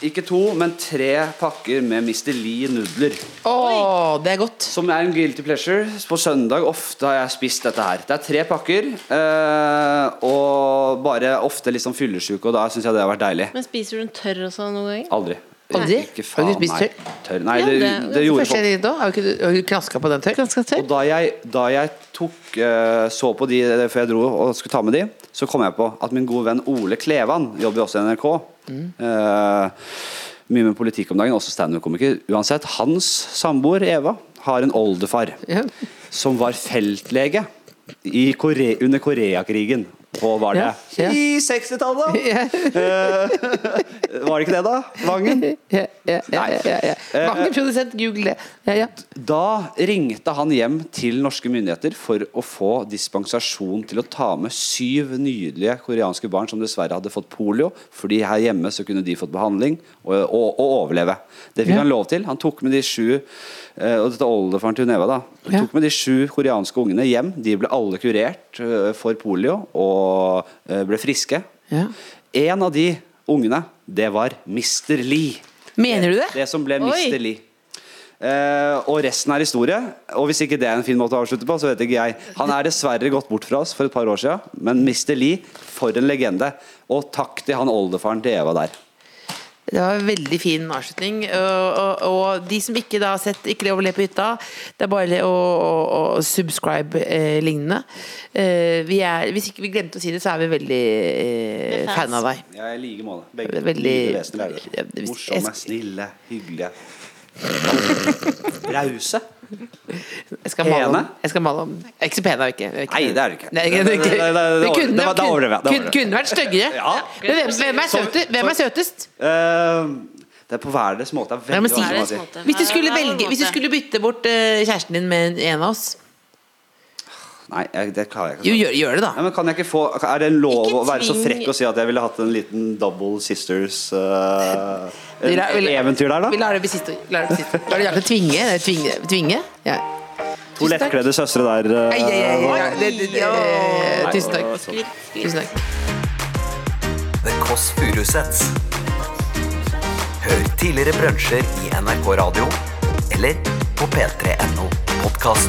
D: ikke to, men tre pakker med Mr. Lee-nudler.
F: Å, det er godt.
D: Som er en guilty pleasure. På søndag ofte har jeg spist dette her. Det er tre pakker, eh, og bare ofte litt sånn fyllesyke, og da syns jeg det har vært deilig.
E: Men spiser du den tørr også noen ganger?
D: Aldri.
F: Aldri?
D: Ikke
F: Har du
D: faen
F: spist
D: meg tørr. Nei,
E: Ja,
D: det,
E: det-
D: det gjorde
F: Første
D: folk.
F: jeg ringte da, Har du ikke- har du knaska på den tørr?
E: Ganske
D: Og
E: tørr?
D: da jeg, da jeg tok, eh, så på de eh, før jeg dro og skulle ta med de, så kom jeg på at min gode venn Ole Klevan jobber jo også i NRK. Eh, mye med politikk om dagen, også standup-komiker. Uansett, hans samboer Eva har en oldefar
F: Ja.
D: som var feltlege i Kore under Koreakrigen. På var det
F: Ja, ja.
D: I 60-tallet! Eh, var det ikke det, da? Vangen?
F: Ja, ja, ja, ja, ja, ja.
D: Eh,
F: Vakker produsent, google det. Ja, ja.
D: Da ringte han hjem til norske myndigheter for å få dispensasjon til å ta med syv nydelige koreanske barn som dessverre hadde fått polio. Fordi her hjemme så kunne de fått behandling og, og, og overleve. Det fikk han lov til. Han tok med de sju eh, Og dette er oldefaren til Neva, da. Han
F: Ja.
D: tok med de sju koreanske ungene hjem. De ble alle kurert eh, for polio og eh, ble friske.
F: Ja.
D: En av de ungene, det var Mr. Lee.
F: Mener du det?
D: Det som ble
E: Oi.
D: Mr. Lee. Eh, og resten er historie. Og hvis ikke det er en fin måte å avslutte på, så vet ikke jeg. Han er dessverre gått bort fra oss for et par år siden, men Mr. Lee, for en legende. Og takk til han oldefaren til Eva der.
F: Det var en veldig fin avslutning. Og, og, og de som ikke da har sett 'Ikke lov å le på hytta', det er bare å, å, å subscribe eh, lignende. Eh, vi er, hvis ikke vi glemte å si det, så er vi veldig eh, fan av deg.
D: Jeg er i like måte. Begge
F: Det er veldig-
D: nydelige vesener er
F: Ja,
D: det.
F: hvis-
D: Morsomme,
F: jeg-
D: snille, hyggelige. Rause.
F: Jeg skal male om,
D: Pene?
F: jeg skal male om. Jeg er Ikke så pen er vi ikke.
D: Nei, det er vi ikke.
F: Nei, det er vi
D: Det-
F: ikke.
D: det- det- det-
F: Vi kunne,
D: det var- det
F: kunne-
D: overdrevet, det
F: kunne,
D: overdrevet.
F: kunne vært styggere.
D: Ja.
F: Men hvem, hvem, er søtest? hvem er søtest?
D: Eh, det er på hver deres måte. Det er
F: Jeg må
D: veldig
F: si-
D: vanskelig å si.
F: Hvis du skulle, velge, hvis du skulle bytte bort eh, kjæresten din med en av oss
D: Nei, jeg, det klarer jeg ikke.
F: Jo, gjør, gjør det, da.
D: Ja, men kan jeg ikke få, er det lov
E: Ikke
D: å være så
E: tving-
D: frekk og si at jeg ville hatt en liten Double Sisters eh,
F: Vil jeg- vil jeg-
D: eventyr der,
F: Vi
D: da?
F: lar det bli siste ord. Lar det bli siste ord. Lar det gjerne tvinge. det er tvinge. tvinge. Ja.
D: To
F: Tusen takk.
D: lettkledde søstre der. eh,
F: Ei, ei, ei, ei, ja. Det- det- det-
E: Oi.
F: Tusen takk. Tusen takk.
B: The Kåss Furuseths. Hør tidligere brunsjer i NRK Radio eller på p3.no podkast.